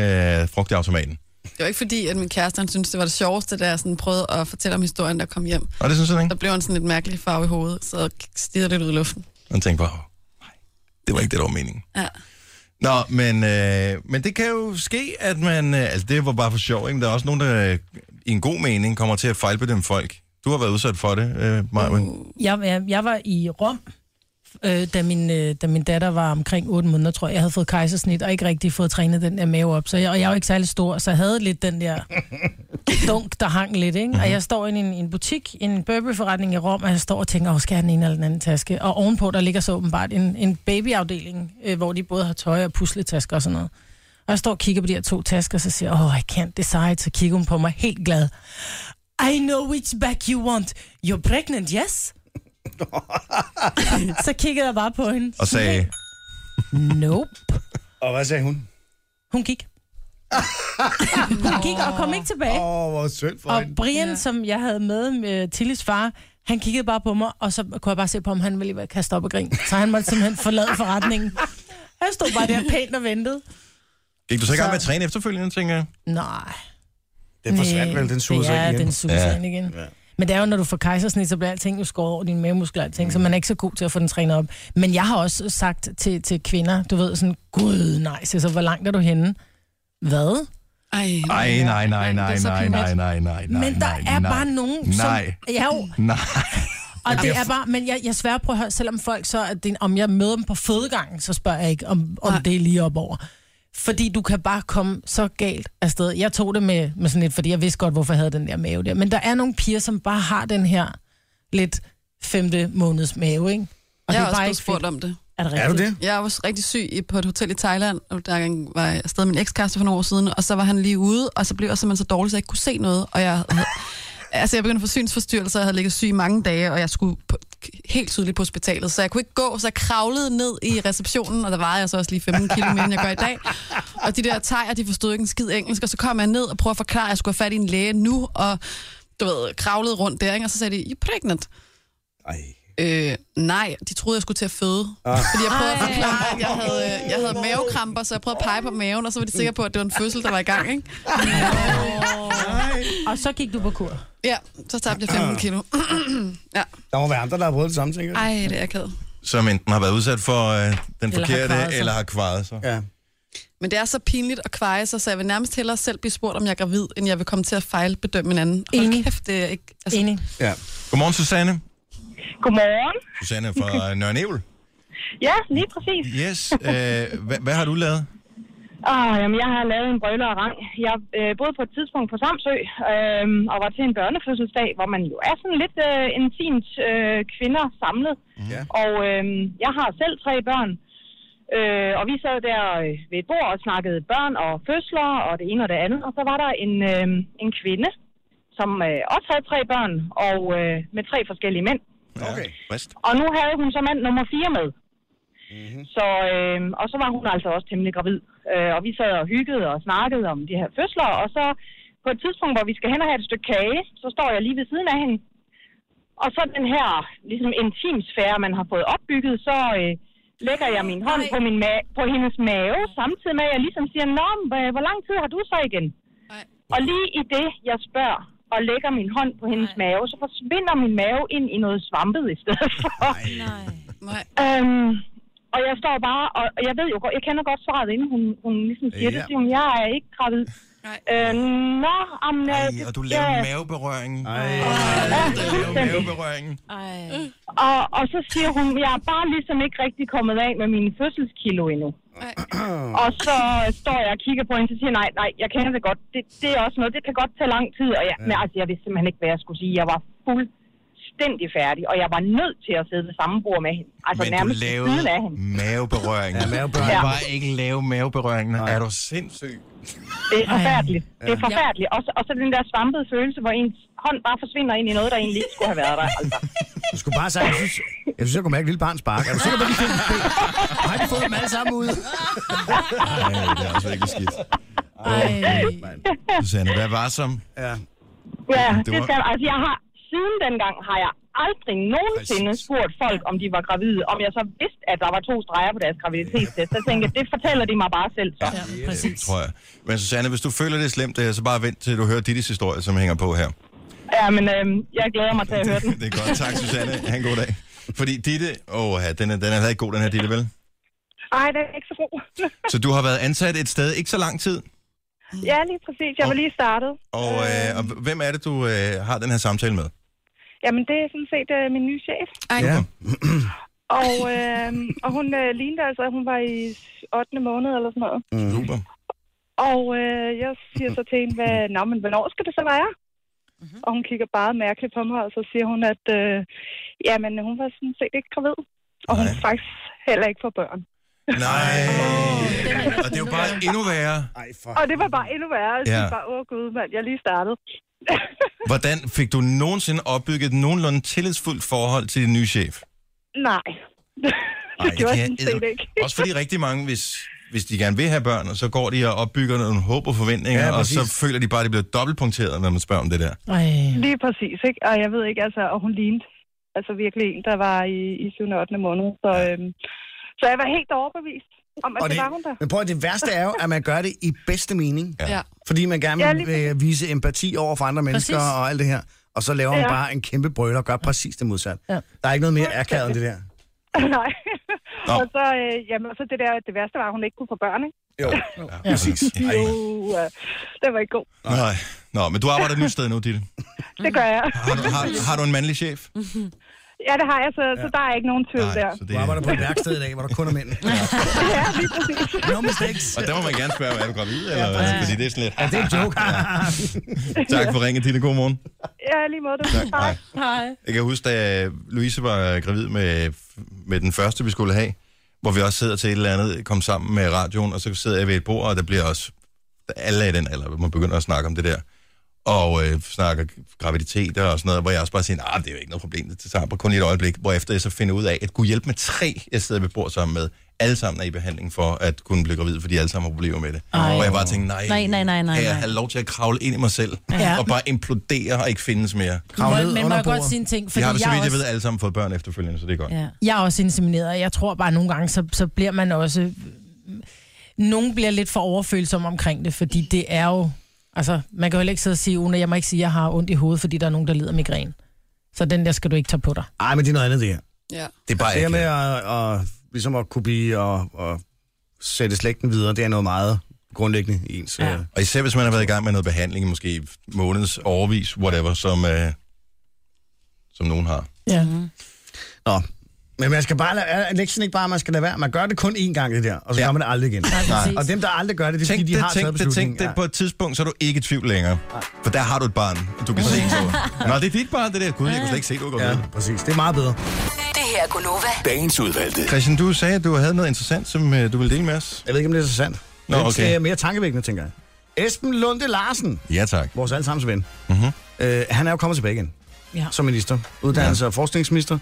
frugt i automaten. Det var ikke fordi, at min kæreste han synes, det var det sjoveste, da jeg sådan prøvede at fortælle om historien, der kom hjem. Og det synes jeg, ikke? Der blev han sådan lidt mærkelig farve i hovedet, så stirrede lidt ud i luften. Man tænkte bare, "Åh, nej, det var ikke det, der var meningen. Ja. Nå, men, øh, men det kan jo ske, at man... Øh, altså, det var bare for sjov, ikke? Der er også nogen, der øh, i en god mening kommer til at fejlbedømme folk. Du har været udsat for det, øh, Marvin. Jeg, jeg, jeg var i Rom, øh, da, min, øh, da min datter var omkring 8 måneder, tror jeg. Jeg havde fået kejsersnit og ikke rigtig fået trænet den der mave op. Så jeg, og jeg var ikke særlig stor, så jeg havde lidt den der dunk, der hang lidt. Ikke? Og jeg står inde i en, i en butik, i en Burberry-forretning i Rom, og jeg står og tænker, åh, skal jeg have den ene eller den anden taske? Og ovenpå, der ligger så åbenbart en, en babyafdeling, øh, hvor de både har tøj og pusletasker og sådan noget. Og jeg står og kigger på de her to tasker, og så siger jeg, åh, I can't decide. Så kigger hun på mig helt glad. I know which back you want. You're pregnant, yes? så kiggede jeg bare på hende. Og sagde, Nope. Og hvad sagde hun? Hun gik. hun gik og kom ikke tilbage. Åh, oh, hvor synd for Og hende. Brian, ja. som jeg havde med, med Tillis far, han kiggede bare på mig, og så kunne jeg bare se på, om han ville være kaste op og grin. Så han måtte simpelthen forlade forretningen. Jeg stod bare der pænt og ventede. gik du så i gang Så- med at træne efterfølgende, tænker jeg? Nej. Den forsvandt vel, den suger sig ja, ind igen. den suger sig Ja. ind igen. Ja. Men det er jo, når du får kejsersnit, så bliver alting jo skåret over dine mavemuskler og alting, mm. så man er ikke så god til at få den trænet op. Men jeg har også sagt til, til kvinder, du ved sådan, gud nej, så hvor langt er du henne? Hvad? Ej, nej, nej, nej, nej, så nej, nej, nej, pinligt. nej, nej, nej. Men der er nej. bare nogen, som- Nej. Ja, jo. Nej. Og det jeg- er bare, men jeg, jeg sværger på at høre, selvom folk så, at det, om jeg møder dem på fødegangen, så spørger jeg ikke, om, om det er lige op over. Fordi du kan bare komme så galt afsted. Jeg tog det med, med sådan lidt, fordi jeg vidste godt, hvorfor jeg havde den der mave der. Men der er nogle piger, som bare har den her lidt femte måneds mave, ikke? Og det jeg er også bare blevet ikke spurgt fedt. om det. Er det rigtigt? Jeg var også rigtig syg i- på et hotel i Thailand, og der engang var jeg afsted med min ekskæreste for nogle år siden, og så var han lige ude, og så blev jeg simpelthen så dårlig, så jeg ikke kunne se noget, og jeg havde, (laughs) altså jeg begyndte at få synsforstyrrelser, og jeg havde ligget syg i mange dage, og jeg skulle på, helt tydeligt på hospitalet, så jeg kunne ikke gå, så jeg kravlede ned i receptionen, og der var jeg så også lige 15 kilo mere, end jeg gør i dag. Og de der thaier, de forstod ikke en skid engelsk, og så kom jeg ned og prøvede at forklare, at jeg skulle have fat i en læge nu, og du ved, kravlede rundt der, ikke? og så sagde de, you're pregnant. Øh, nej, de troede, jeg skulle til at føde. Ah. Fordi jeg prøvede at forklare, at jeg havde, øh, jeg havde mavekramper, så jeg prøvede at pege på maven, og så var de sikre på, at det var en fødsel, der var i gang, ikke? Og så gik du på kur? Ja, så tabte Ah. jeg 15 kilo. (clears throat) ja. Der må være andre, der har prøvet det samme, tænker jeg. Ej, det er akavet. Som enten har været udsat for øh, den har forkerte, kvajet sig. eller har kvaret sig. Ja. Men det er så pinligt at kveje sig, så jeg vil nærmest hellere selv blive spurgt, om jeg er gravid, end jeg vil komme til at fejlbedømme en anden. Hold Enig. kæft, det er ikke... Altså... Enig. ja. Godmorgen, Susanne. Godmorgen. Susanne er (laughs) fra Nørre Nebel. Ja, lige præcis. Yes. Øh, hvad, hvad har du lavet? Åh, Ah, jamen, jeg har lavet en brøler og rang. Jeg øh, boede på et tidspunkt på Samsø øh, og var til en børnefødselsdag, hvor man jo er sådan lidt øh, intimt øh, kvinder samlet. Ja. Og øh, jeg har selv tre børn, øh, og vi sad der øh, ved et bord og snakkede børn og fødsler og det ene og det andet. Og så var der en, øh, en kvinde, som øh, også havde tre børn og øh, med tre forskellige mænd. Okay. Frist. Og nu havde hun så mand nummer 4 med. Mm-hmm. Så, øh, og så var hun altså også temmelig gravid. Øh, og vi sad og hyggede og snakkede om de her fødsler, og så på et tidspunkt, hvor vi skal hen og have et stykke kage, så står jeg lige ved siden af hende. Og så den her ligesom intimsfære, man har fået opbygget, så øh, lægger jeg min hånd på, min ma- på hendes mave, samtidig med at jeg ligesom siger, Nå, men, øh, hvor lang tid har du så igen? Og lige i det, jeg spørger og lægger min hånd på hendes Nej. mave, så forsvinder min mave ind i noget svampet i stedet for. Nej. Nej. Øhm, og jeg står bare, og og jeg ved jo godt, jeg kender godt svaret, inden hun, hun ligesom siger Ja. ja. det, siger hun, jeg er ikke gravid. Øh, nå, om, øh, Ej, og du laver maveberøringen. Ej. maveberøringen. (laughs) Og, og så siger hun, jeg er bare ligesom ikke rigtig kommet af med mine fødselskilo endnu. Og så står jeg og kigger på hende, og siger, nej, nej, jeg kender det godt. Det, det er også noget, det kan godt tage lang tid. Og jeg, ja. Men altså, jeg vidste simpelthen ikke, hvad jeg skulle sige. Jeg var fuldstændig færdig, og jeg var nødt til at sidde ved samme bord med hende. Altså Men du nærmest ved lavede siden af hende. maveberøring. Ja, maveberøring. Du var ikke lave maveberøringen. Er du sindssyg? Det er forfærdeligt. Det er Ja. forfærdeligt. Og så, og så den der svampede følelse, hvor ens hånd bare forsvinder ind i noget, der egentlig ikke skulle have været der. Altså. Du skulle bare sige, jeg synes, jeg, synes, jeg kunne mærke et lille barn spark. Er du sikker på, at de fik Har de fået dem alle sammen ud? Ej, det er altså ikke skidt. Ej. Susanne, hvad var som? Ja. Ja, Det det var- skal, altså jeg har, siden dengang har jeg aldrig nogensinde spurgt folk, om de var gravide. Om jeg så vidste, at der var to streger på deres graviditetstest. Så tænkte jeg, det fortæller de mig bare selv. Så. Ja, præcis. Tror jeg. Men Susanne, hvis du føler det er slemt, øh, så bare vent til du hører Didis historie, som hænger på her. ja men øhm, jeg glæder mig til at (laughs) høre den. Det er godt. Tak, Susanne. Ha' en god dag. Fordi Ditte, åh, ja, den er, den er heller ikke god, den her Ditte, vel? Ej, det er ikke så (laughs) god. Så du har været ansat et sted ikke så lang tid, ja, lige præcis. Jeg var lige startet. og, Øhm, øh, og hvem er det, du øh, har den her samtale med? Jamen, det er sådan set øh, min nye chef. Ej. Ja. Og, øh, øhm, og hun øh, lignede altså, at hun var i 8. måned eller sådan noget. Super. Og øh, jeg siger så til hende, hvad, Nå, men hvornår skal det så være? Mm-hmm. Og hun kigger bare mærkeligt på mig, og så siger hun, at øh, jamen, hun var sådan set ikke gravid. Og hun har faktisk heller ikke for børn. Nej. Og det er jo bare endnu værre. Og det var bare endnu værre. Jeg Ja. ja. bare, åh gud, mand, jeg er lige startet. Hvordan fik du nogensinde opbygget et nogenlunde tillidsfuldt forhold til din nye chef? (laughs) Nej. (laughs) det gjorde jeg sådan set edder- ikke. Også fordi rigtig mange, hvis, hvis de gerne vil have børn, og så går de og opbygger nogle håb og forventninger, Ja, ja, og præcis. så føler de bare, at de bliver dobbeltpunkteret, når man spørger om det der. Lige præcis, ikke? Og jeg ved ikke, altså, og hun lignede altså virkelig en, der var i, i 7. og 8. måned. Så, øhm, så jeg var helt overbevist. om, at Og det, det- var hun der. Men prøv at det værste er jo, at man gør det i bedste mening. Ja. Fordi man gerne Ja, vil lige præcis. øh, vise empati over for andre mennesker Præcis. og alt det her. Og så laver man Ja. bare en kæmpe brøl og gør præcis det modsatte. Ja. Der er ikke noget mere akavet end det der. (laughs) Nej. Nå. og så, øh, jamen, og så det der, det værste var, at hun ikke kunne få børn, ikke? Jo, ja. præcis. Ej. Jo, øh, det var ikke god. Nej. Nå, men du arbejder et nyt sted nu, Ditte. Det gør jeg. Har, du- har, har du en mandlig chef? Ja, det har jeg, så, ja. så der er ikke nogen tvivl der. Så Du arbejder på et værksted i dag, hvor der kun er mænd. (laughs) ja, lige præcis. No mistakes. Og der må man gerne spørge, er du gravid? Eller, hvad? Fordi det er sådan lidt... Ja, det er en joke. tak for ringen, Ditte. God morgen. Ja, lige måde. Du. Tak. Hej. Hej. Jeg kan huske, da Louise var gravid med, med den første, vi skulle have, hvor vi også sidder til et eller andet, kom sammen med radioen, og så sidder jeg ved et bord, og der bliver også... Alle er i den alder, man begynder at snakke om det der. Og øh, snakker graviditeter og sådan noget, hvor jeg også bare siger, nej, det er jo ikke noget problem, det tager bare kun lige et øjeblik, hvor efter jeg så finder ud af, at kunne hjælpe med tre, jeg sidder ved et bord sammen med, alle sammen er i behandling for at kunne blive gravid, fordi alle sammen har problemer med det. Ej. Og jeg bare tænkte, nej, Nej, nej, nej, nej, kan jeg nej. have lov til at kravle ind i mig selv, Ja. og bare implodere og ikke findes mere. Kravle Men- ned men må under jeg godt bordet. sige en ting, De har, fordi så jeg vidt jeg også- ved, alle sammen fået børn efterfølgende, så det er godt. Ja. Jeg er også insemineret, og jeg tror bare, at nogle gange, så, så bliver man også... Nogen bliver lidt for overfølsom omkring det, fordi det er jo... Altså, man kan jo heller ikke sidde og sige, Una, jeg må ikke sige, at jeg har ondt i hovedet, fordi der er nogen, der lider af migræne. Så den der skal du ikke tage på dig. Ej, men det er noget andet, det her. Ja. Det er bare Altså, det her med at, at, ligesom at kunne blive og, og sætte slægten videre, det er noget meget grundlæggende i ens... øh, Ja. Og især hvis man har været i gang med noget behandling, i måske måneds, overvis, whatever, som, øh, som nogen har. Ja. Nå. Men man skal bare lade, er lektionen ikke bare, at man skal lade være. Man gør det kun én gang, det der, og så ja. gør man det aldrig igen. præcis. Og dem, der aldrig gør det, det er Tænk fordi, de det, har tænk taget det, beslutningen. tænk det på et tidspunkt, så er du ikke i tvivl længere. For der har du et barn, og du kan se (laughs) så. Nå, det er dit barn, det der. Gud, jeg kunne slet ikke se, du går Ja, præcis. Det er meget bedre. Det her er Gunova. Dagens udvalgte. Christian, du sagde, at du havde noget interessant, som øh, du ville dele med os. Jeg ved ikke, om det er så sandt. Nå, Det okay. er mere tankevækkende, tænker jeg. Esben Lunde Larsen, Ja, tak. vores allesammens ven, mm-hmm. øh, han er jo kommet tilbage igen ja. som minister. Uddannelse- og forskningsminister.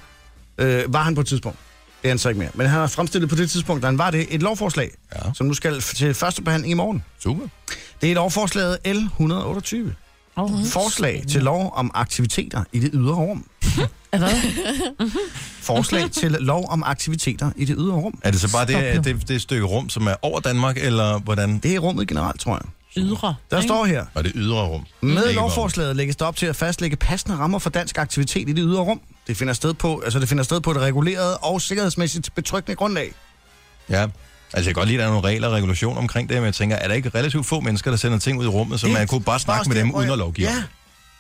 Øh, var han på et tidspunkt. Det er han så ikke mere. Men han har fremstillet på det tidspunkt, da han var det, et lovforslag, ja. som nu skal f- til første behandling i morgen. Super. Det er lovforslaget L128. Oh, Forslag til lov om aktiviteter i det ydre (laughs) rum. Hvad? Forslag til lov om aktiviteter i det ydre rum. Er det så bare Stop det, nu. det, det stykke rum, som er over Danmark, eller hvordan? Det er rummet generelt, tror jeg. Ydre. Der står her. Og det ydre rum. Med Ikke lovforslaget lægges der op til at fastlægge passende rammer for dansk aktivitet i det ydre rum. Det finder sted på, altså det finder sted på et reguleret og sikkerhedsmæssigt betryggende grundlag. Ja. Altså, jeg kan godt lide, at der er nogle regler og regulationer omkring det, men jeg tænker, er der ikke relativt få mennesker, der sender ting ud i rummet, så Det- man kunne bare snakke med dem Hvor uden jeg- at lovgive? om Ja, det?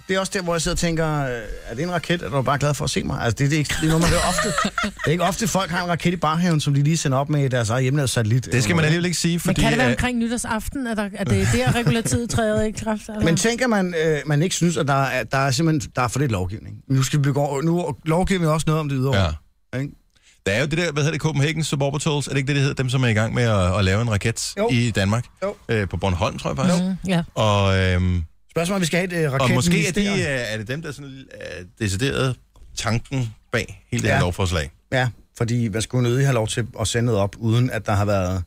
det er også der, hvor jeg sidder og tænker, øh, er det en raket, eller er du bare glad for at se mig? Altså, det, er- det, er, ikke, det er noget, man hører ofte. Det er ikke ofte, folk har en raket i baghaven, som de lige sender op med i deres eget hjemlavede satellit. Det skal man alligevel ikke sige, Men fordi... kan det være øh, omkring nytårsaften, at, der, at det er der regulativet træder i kraft? Eller? Men tænker man, øh, man ikke synes, at der er, der er simpelthen der er for lidt lovgivning. Nu skal vi begå, nu lovgiver vi også noget om det ydre rum. Ja. Der er jo det der, hvad hedder det, Copenhagen Suborbitals, er det ikke det, det hedder? Dem, som er i gang med at, at lave en raket Jo. i Danmark. Jo. Øh, på Bornholm, tror jeg faktisk. Mhm, Ja. Og, øhm, Spørgsmålet er, om vi skal have et øh, og raket. måske er, de, øh, er det dem, der sådan, er decideret tanken bag hele det her Ja. lovforslag. Ja, fordi man skulle nødig have lov til at sende noget op, uden at der har været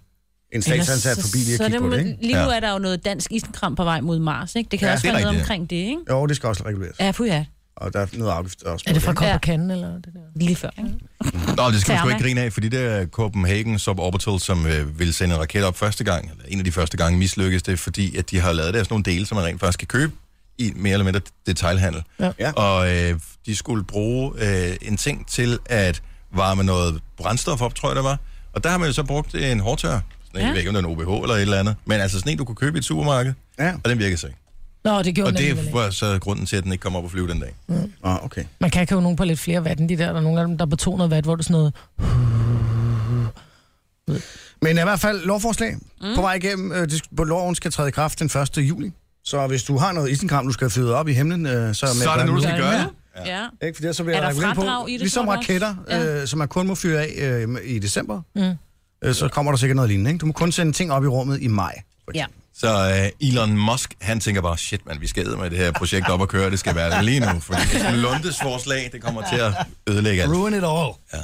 en statsansat forbi lige at så kigge det på må- det, ikke? Lige nu er der jo noget dansk isenkram på vej mod Mars, ikke? Det kan Ja, ja, også det er være noget rigtigt, ja. omkring det, ikke? Jo, det skal også reguleres. Ja, fu ja. Og der er noget afgift også. Er det fra på Kop Kanden, eller det der? Lige før, ikke? Nå, det skal man sgu Therma. ikke grine af, fordi det er Copenhagen Suborbital, som øh, ville sende en raket op første gang, eller en af de første gange mislykkes det, fordi at de har lavet deres nogle dele, som man rent faktisk kan købe i mere eller mindre detailhandel. Ja. Og øh, de skulle bruge øh, en ting til at varme noget brændstof op, tror jeg det var. Og der har man jo så brugt en hårdtør. Sådan en, Ja. Jeg ved ikke, om det er en OBH eller et eller andet. Men altså sådan en, du kunne købe i et supermarked. Ja. Og den virkede så ikke. Nå, det gjorde Og den alligevel det ikke. var så grunden til, at den ikke kom op og flyve den dag. Ah, okay. Man kan købe nogen på lidt flere watt end de der. Der er nogle af dem, der er på 200 watt, hvor det er sådan noget... Men i hvert fald lovforslag mm. på vej igennem. Øh, det, sk- på loven skal træde i kraft den 1. juli. Så hvis du har noget isenkram, du skal fyde op i himlen, øh, så... Så er det nu, du skal gøre det. Ja. Ikke, for det, så Er bliver der regulering fradrag på. i det, ligesom tror du raketter, også? øh, som man kun må fyre af øh, i december, Mm. øh, så kommer der sikkert noget lignende. Ikke? Du må kun sende ting op i rummet i maj. Ja. Så øh, Elon Musk, han tænker bare, shit mand, vi skal æde med det her projekt op og køre, det skal være lige nu, fordi sådan Lundes forslag, det kommer til at ødelægge alt. Ruin it all.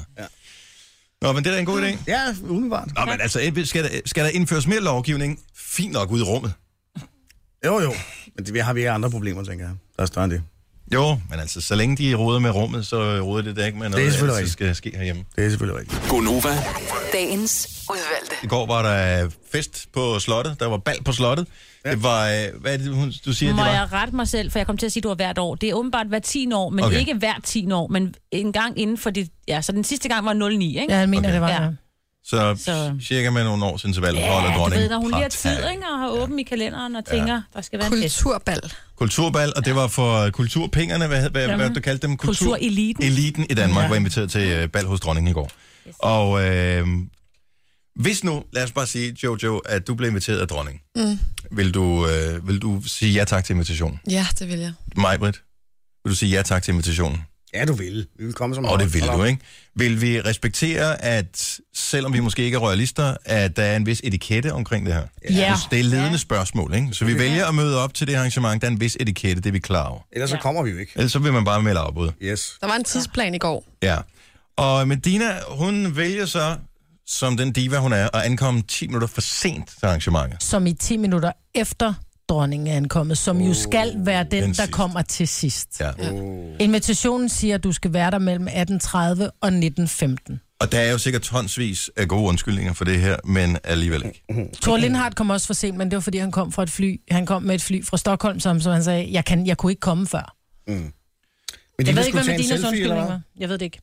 Nå, men det er da en god idé. Ja, umiddelbart. Nå, men altså, Ebbe, skal der, skal der indføres mere lovgivning? Fint nok ud i rummet. Jo, jo. Men det, vi har vi ikke andre problemer, tænker jeg. Der er større end det. Jo, men altså, så længe de roder med rummet, så øh, roder det da ikke med noget, øh, selvfølgelig der rigtigt. skal ske herhjemme. Det er selvfølgelig rigtigt. Gonova. Dagens udvalgte. I går var der øh, fest på slottet. Der var bal på slottet. Ja. Det var, øh, hvad er det, hun, du siger, Må det var? jeg rette mig selv, for jeg kom til at sige, at det var hvert år. Det er åbenbart hvert 10 år, men Okay. okay. ikke hvert 10 år, men en gang inden for det... Ja, så den sidste gang var 09, ikke? Ja, jeg mener, Okay. det var Ja. ja. Så, Så- cirka med nogle års interval Ja, holder du dronningen ved, når hun lige har tid, partal. ikke? Og har åben i kalenderen og tænker, ja. der skal være en fest. Kulturbal. Kulturbal, og det var for kulturpengerne, hvad, hvad, hvad du kaldte dem? Kultureliten. Eliten i Danmark ja. Ja. var inviteret til øh, bal hos dronningen i går. Yes. Og øh, hvis nu, lad os bare sige, Jojo, at du blev inviteret af dronningen, Mm. vil du, øh, vil du sige ja tak til invitationen? Ja, det vil jeg. Majbrit, vil du sige ja tak til invitationen? Ja, du vil. Vi vil komme som Og det vil du, ikke? Vil vi respektere, at selvom vi måske ikke er royalister, at der er en vis etikette omkring det her? Ja. Så Det er ledende spørgsmål, ikke? Så vi vælger at møde op til det arrangement, der er en vis etikette, det er vi klar over. Ellers så kommer vi jo ikke. Ellers så vil man bare melde afbud. Yes. Der var en tidsplan i går. Ja. Og Medina, hun vælger så, som den diva hun er, at ankomme 10 minutter for sent til arrangementet. Som i 10 minutter efter dronningen er ankommet, som jo skal være den, den der sidste. kommer til sidst. Ja. Invitationen siger, at du skal være der mellem 18.30 og 19.15. Og der er jo sikkert tonsvis af gode undskyldninger for det her, men alligevel ikke. Thor Lindhardt kom også for sent, men det var, fordi han kom fra et fly. Han kom med et fly fra Stockholm, som, som han sagde, jeg, kan, jeg kunne ikke komme før. Mm. jeg ved ikke, hvad Medinas undskyldning var. Jeg ved det ikke.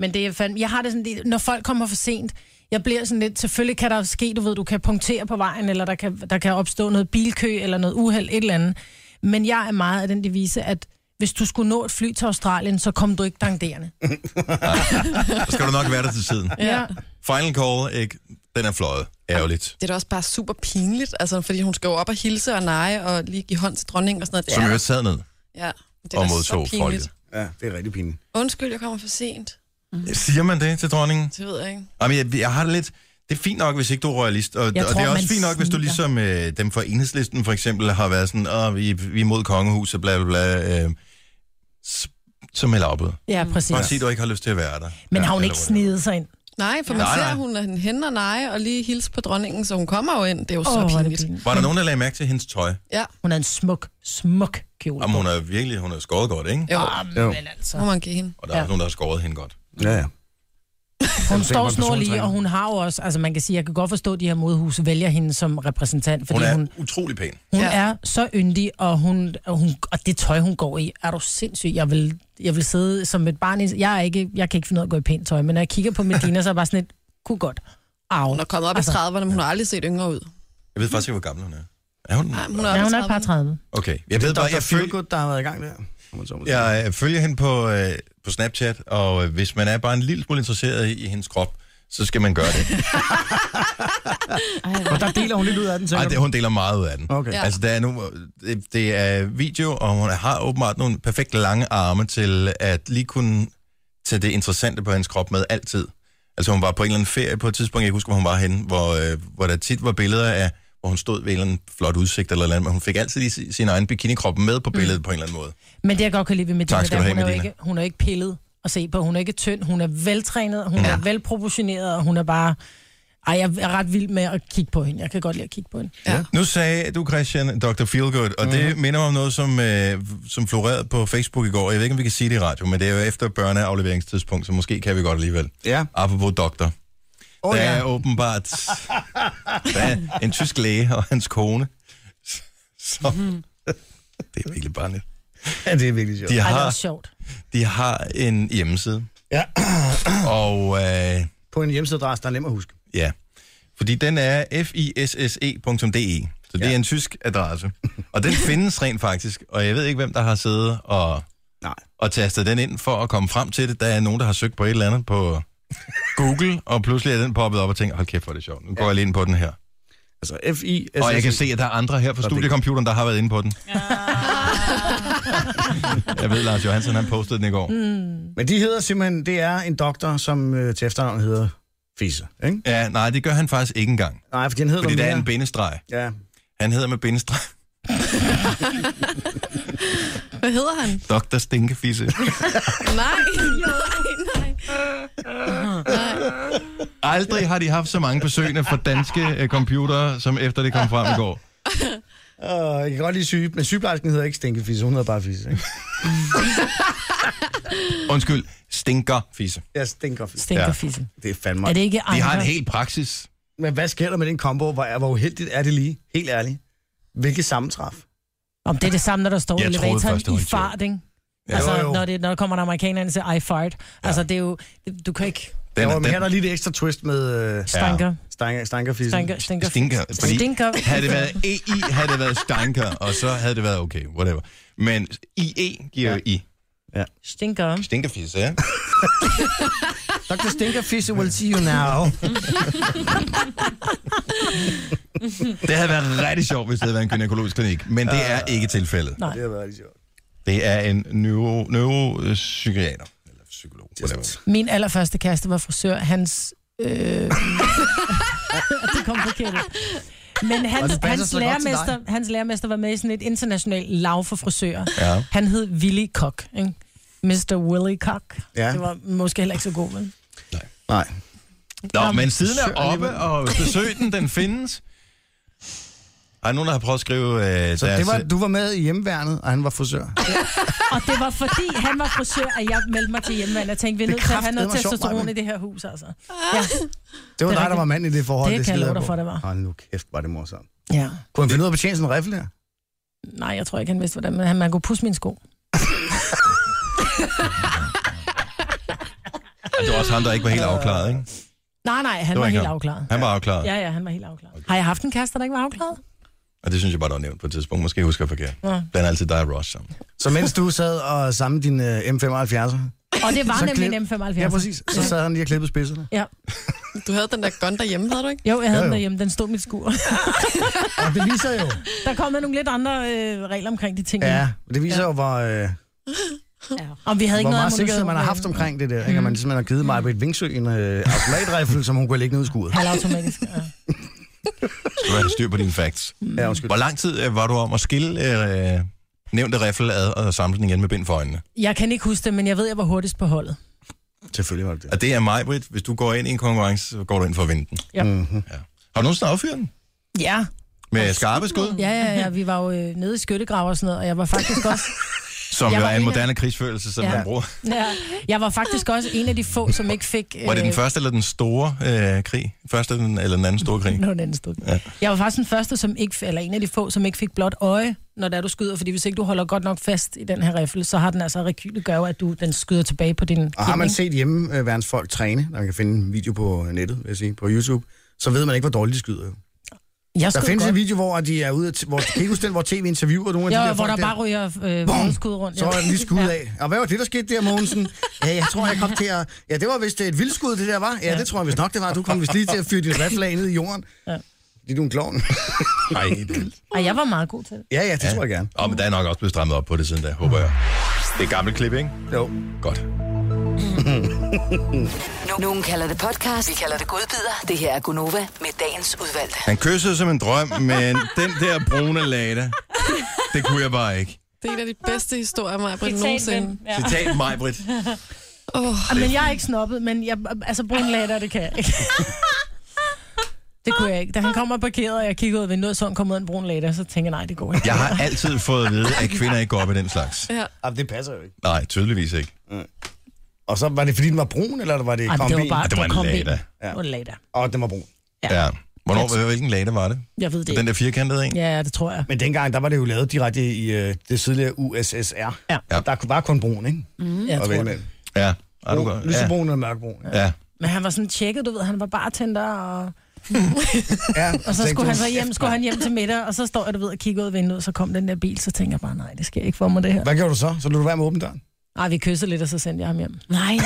Men det er fandme, jeg har det sådan, lidt- når folk kommer for sent, jeg bliver sådan lidt, selvfølgelig kan der jo ske, du ved, du kan punktere på vejen, eller der kan, der kan opstå noget bilkø, eller noget uheld, et eller andet. Men jeg er meget af den devise, at hvis du skulle nå et fly til Australien, så kom du ikke dangderende. Så skal du nok være der til tiden. Ja. Final call, ikke? Den er fløjet. Ærgerligt. Det er da også bare super pinligt, altså, fordi hun skal jo op og hilse og neje og lige give hånd til dronningen og sådan noget. Det Som er, jo sad ned ja, det er og da så modtog pinligt. folket. Ja, det er rigtig pinligt. Undskyld, jeg kommer for sent. Mhm. Siger man det til dronningen? Det ved jeg ikke. Jamen, jeg, jeg har det lidt... Det er fint nok, hvis ikke du er royalist, og, og Jeg tror, det er også man fint nok, hvis du sniger. ligesom øh, dem fra Enhedslisten for eksempel har været sådan, åh, vi, vi er mod kongehuset, bla bla bla, øh, s- så melder afbud. Ja, Mm. præcis. Bare sig, du ikke har lyst til at være der. Men ja, har hun eller ikke whatever. snedet sig ind? Nej, for man Nej, ser, nej. at hun er hende og neje og lige hilse på dronningen, så hun kommer jo ind. Det er jo så Åh, hvor er det pinligt. Var der nogen, der lagde mærke til hendes tøj? Ja. Hun havde en smuk, smuk kjole. Om hun er virkelig, hun er skåret godt, ikke? Jo. Jo. Men altså. Må man give hende. Og der er ja. nogen, der har skåret hende godt. Ja, ja. Hun står snorlig, og hun har jo også, altså man kan sige, jeg kan godt forstå, at de her modehuse vælger hende som repræsentant, fordi Hun er hun, hun... utrolig pæn. Hun ja. er så yndig, og, hun, og, hun, og det tøj, hun går i, er du sindssyg. Jeg vil, jeg vil sidde som et barn i... Jeg, er ikke, jeg kan ikke finde ud af at gå i pænt tøj, men når jeg kigger på Medina, så er jeg bare sådan lidt, kunne godt. Au. Hun er kommet op altså. i 30'erne, men hun har aldrig set yngre ud. Jeg ved faktisk ikke, hvor gammel hun er. Er hun? Nej, hun Ja, hun er et par 30. Okay. Jeg ved bare, jeg føler... Feelgood, der har været i gang der. Jeg øh, følger hende på, øh, på Snapchat, og øh, hvis man er bare en lille smule interesseret i, i hendes krop, så skal man gøre det. Og der deler hun lidt ud af den, Ej, tænker det, du? hun deler meget ud af den. Okay. Ja. Altså, der er nu, det, det er video, og hun har åbenbart nogle perfekt lange arme til at lige kunne tage det interessante på hendes krop med altid. Altså, hun var på en eller anden ferie på et tidspunkt, jeg kan ikke huske, hvor hun var henne, hvor, øh, hvor der tit var billeder af, hvor hun stod ved en eller anden flot udsigt eller noget, men hun fik altid lige sin- sin egen bikinikrop med på billedet mm. på en eller anden måde. Men det, jeg godt kan lide ved Medina, Tak skal du det er, have, hun, er jo Medina. ikke, hun er jo ikke pillet at se på. Hun er ikke tynd, hun er veltrænet, hun ja. er velproportioneret, og hun er bare... Ej, jeg er ret vild med at kigge på hende. Jeg kan godt lide at kigge på hende. Ja. Nu sagde du, Christian, Dr. Feelgood, og mm-hmm. det minder mig om noget, som, øh, som florerede på Facebook i går. Jeg ved ikke, om vi kan sige det i radio, men det er jo efter børneafleveringstidspunkt, så måske kan vi godt alligevel. Ja. Apropos doktor. Oh, Åh, der ja. ja. er åbenbart der er en tysk læge og hans kone. Så, (laughs) det er virkelig bare lidt. Ja, det er virkelig sjovt. De Ej, det er har, også sjovt. de har en hjemmeside, Ja. og øh, På en hjemmesideadresse, der er nem at huske. Ja, fordi den er E fisse.de, så det ja. er en tysk adresse. Og den findes rent faktisk, og jeg ved ikke, hvem der har siddet og, Nej. og tastet den ind for at komme frem til det. Der er nogen, der har søgt på et eller andet på Google, og pludselig er den poppet op og tænker, hold kæft, hvor er det sjovt. Nu går jeg lige ind på den her. Altså FI... Og jeg kan se, at der er andre her fra Så det- studiecomputeren, der har været inde på den. (laughs) Jeg ved, Lars Johansen, han postede den i går. Men de hedder simpelthen... Det er en doktor, som øh, til efternavn hedder Fise, ikke? Ja, nej, det gør han faktisk ikke engang. Nej, fordi han hedder Fordi der noget er mere. en bindestreg. Ja. Han hedder med bindestreg (laughs) Hvad hedder han? Dr. Stinkefisse. (laughs) Nej, nej, nej. nej. Aldrig har de haft så mange besøgende fra danske øh, computere, som efter det kom frem i går. Åh, jeg kan godt lide syge, men sygeplejersken hedder ikke Stinkefisse, hun hedder bare Fise, ikke? Undskyld, stinker fisse. Ja, Stinkerfisse. Stinkerfisse. Det er fandme... Er det ikke De andre? har en hel praksis. Men hvad sker der med den kombo? Hvor, hvor uheldigt er det lige? Helt ærligt. Hvilket sammentræf? Om det er det samme, når der står i Jeg troede elevatoren først, det var en i joke. fart, ikke? Ja. Ja, altså, Jo, jo. Når, det, når der kommer en amerikaner ind og siger, I fart. Altså, det er jo... Du kan ikke... Den, jo, men her er der lige et ekstra twist med... Øh, Stanker. Ja. Stanker, stanker, Stinker. Stinker. Stinker. Fordi Stinker. havde det været EI, havde det været stanker, og så havde det været okay, whatever. Men IE giver jo I. Ja. Stinker. Stinkerfisse, ja. Dr. Stinkerfisse will see you now. Det havde været rigtig sjovt, hvis det havde været en gynækologisk klinik, men det er ikke tilfældet. (laughs) Nej. Det har været rigtig sjovt. Det er en neuro, neuropsykiater. Eller psykolog. whatever. Min allerførste kæreste var frisør. Hans... Øh... (laughs) det kom forkert. ud. Men Og hans, det passer hans, så godt til lærermester, hans lærermester var med i sådan et internationalt lav for frisører. Ja. Han hed Willy Kok. Ikke? Mr. Willy Kok. Ja. Det var måske heller ikke så god, men... Nej. Nå, Nå, men siden er besøg oppe, alligevel. og besøg den, den findes. Er der nogen, der har prøvet at skrive øh, Så deres... det var, du var med i hjemmeværnet, og han var frisør. Og det var fordi, han var frisør, at jeg meldte mig til hjemmevand. Jeg tænkte, vi er Det nødt til at have kraftedeme noget var sjovt, testosteron Maja. i det her hus, altså. Ja. Det var Det er dig, der var mand i det forhold. Det kan jeg slider love dig på. for, det var. Hold nu kæft, var det morsomt. Ja. Kunne han finde ud af at betjene sådan en rifle der? Nej, jeg tror ikke, han vidste, hvordan. Men han, man kunne pusse min sko. øh, Det var også ham, der ikke var helt afklaret, ikke? Nej, nej, Det han var, helt ham. afklaret. Han var afklaret, ja. Ja, ja, han var helt afklaret. Har jeg haft en kæreste, der ikke var afklaret? og det synes jeg bare, der var nævnt på et tidspunkt. Måske husker jeg forkert. Ja. Den er altid dig og Ross sammen. (laughs) Så mens du sad og samlede din øh, M75'er? Og det var Så nemlig en klip- M75. Ja, præcis. Så sad han lige og klippede spidserne. Ja. Du havde den der gun derhjemme, havde du ikke? Jo, jeg Jo, jo. havde jo, jo. den derhjemme. Den stod i mit skur. Og det viser jo... (laughs) Der kom nogle lidt andre øh, regler omkring de ting. Ja, det viser jo, hvor, øh, Om vi havde hvor ikke noget Mm. meget sikkerhed man har haft omkring det der. Ikke? Og man simpelthen har givet mig på et vingsø en øh, automatrifle, som hun kunne lægge ned i skuret. Halvautomatisk. Ja. Skal du have styr på dine facts. Mm. Ja, undskyld. Hvor lang tid øh, var du om at skille øh, nævnte riffel ad og samle den igen med bind for øjnene? Jeg kan ikke huske det, men jeg ved, jeg var hurtigst på holdet. Selvfølgelig var det det. Og det er mig, Britt. Hvis du går ind i en konkurrence, så går du ind for at vinde den. Ja. Mm-hmm. ja. Har du nogensinde affyret den? Ja. Med skarpe skud, Ja, ja, ja. Vi var jo øh, nede i skyttegrav og sådan noget, og jeg var (laughs) faktisk også... som Jeg jo var er en en af- moderne krigsførelse, som ja. Ja. man bruger. Ja, jeg var faktisk også en af de få, som ikke fik... øh, Var det den første eller den store øh, krig? Første eller den- eller den anden store (laughs) krig? Nå, den anden store krig. Ja. Jeg var faktisk den første, som ikke, eller en af de få, som ikke fik blåt øje, når der du skyder, fordi hvis ikke du holder godt nok fast i den her rifle, så har den altså rekyle gør, at du den skyder tilbage på din Og har kind, man ikke? set hjemmeværens folk træne, der man kan finde en video på nettet, vil jeg sige, på YouTube, så ved man ikke, hvor dårligt de skyder. jo. Jeg der skød findes godt. en video, hvor de er ude, at- hvor kan I huske den, hvor tv interviewer nogle af de Ja, der hvor folk der bare ryger øh, Bum! vådeskud rundt. Så ja. var den lige skud af. Og hvad var det, der skete der, Mogensen? Ja, jeg tror, jeg kom til at... Ja, det var vist et vildskud, det der var. Ja, det tror jeg vist nok, det var. Du kom vist lige til at fyre din rifle af ned i jorden. Ja. Fordi du er en klovn. (laughs) Nej, det... Og jeg var meget god til det. Ja, ja, det tror jeg gerne. Og men der er nok også blevet strammet op på det siden da, håber jeg. Det er et gammelt klip, ikke? Jo. Godt. Nu- Nogen kalder det podcast, vi kalder det godbider. Det her er Gunova med dagens udvalgte. Han kyssede som en drøm, men den der brune lada, det kunne jeg bare ikke. Det er en af de bedste historier, mig Britt, Citat, nogensinde. ven. Ja. Citat mig, Britt. Oh. Ah, Men jeg er ikke snobbet, men jeg, altså brun lader, det kan jeg ikke. (laughs) Det kunne jeg ikke. Da han kom og parkerede, og jeg kiggede ud af vinduet, så han kom ud en brun lader, så tænkte jeg, nej, det går ikke. Jeg har altid fået at vide, at kvinder ikke går op i den slags. Ja. Jamen, det passer jo ikke. Nej, tydeligvis ikke. Og så var det, fordi den var brun, eller var det Ej, men det var kombin? bare- det var en det var kombin. lada. Ja. En lada. Og den var brun. Ja. Hvornår, hvilken lada var det? Jeg ved det Den der firkantede en? Ja, det tror jeg. Men dengang, der var det jo lavet direkte i øh, det tidligere USSR. Ja. Der var kun brun, ikke? Mm, jeg Og tror vælge det. mellem. Ja. Er du Brun- godt? Ja. Lysebrun eller mørkbrun. Ja. ja. Men han var sådan tjekket, du ved, han var bartender, og, ja og så tænkte skulle du, han så hjem, "Kæft, skulle mand." han hjem til middag, og så står jeg, du ved, og kigger ud af vinduet, så kom den der bil, så tænker jeg bare, nej, det sker ikke for mig, det her. Hvad gjorde du så? Så lod du være med åben døren? Nej, vi kyssede lidt, og så sendte jeg ham hjem. Nej.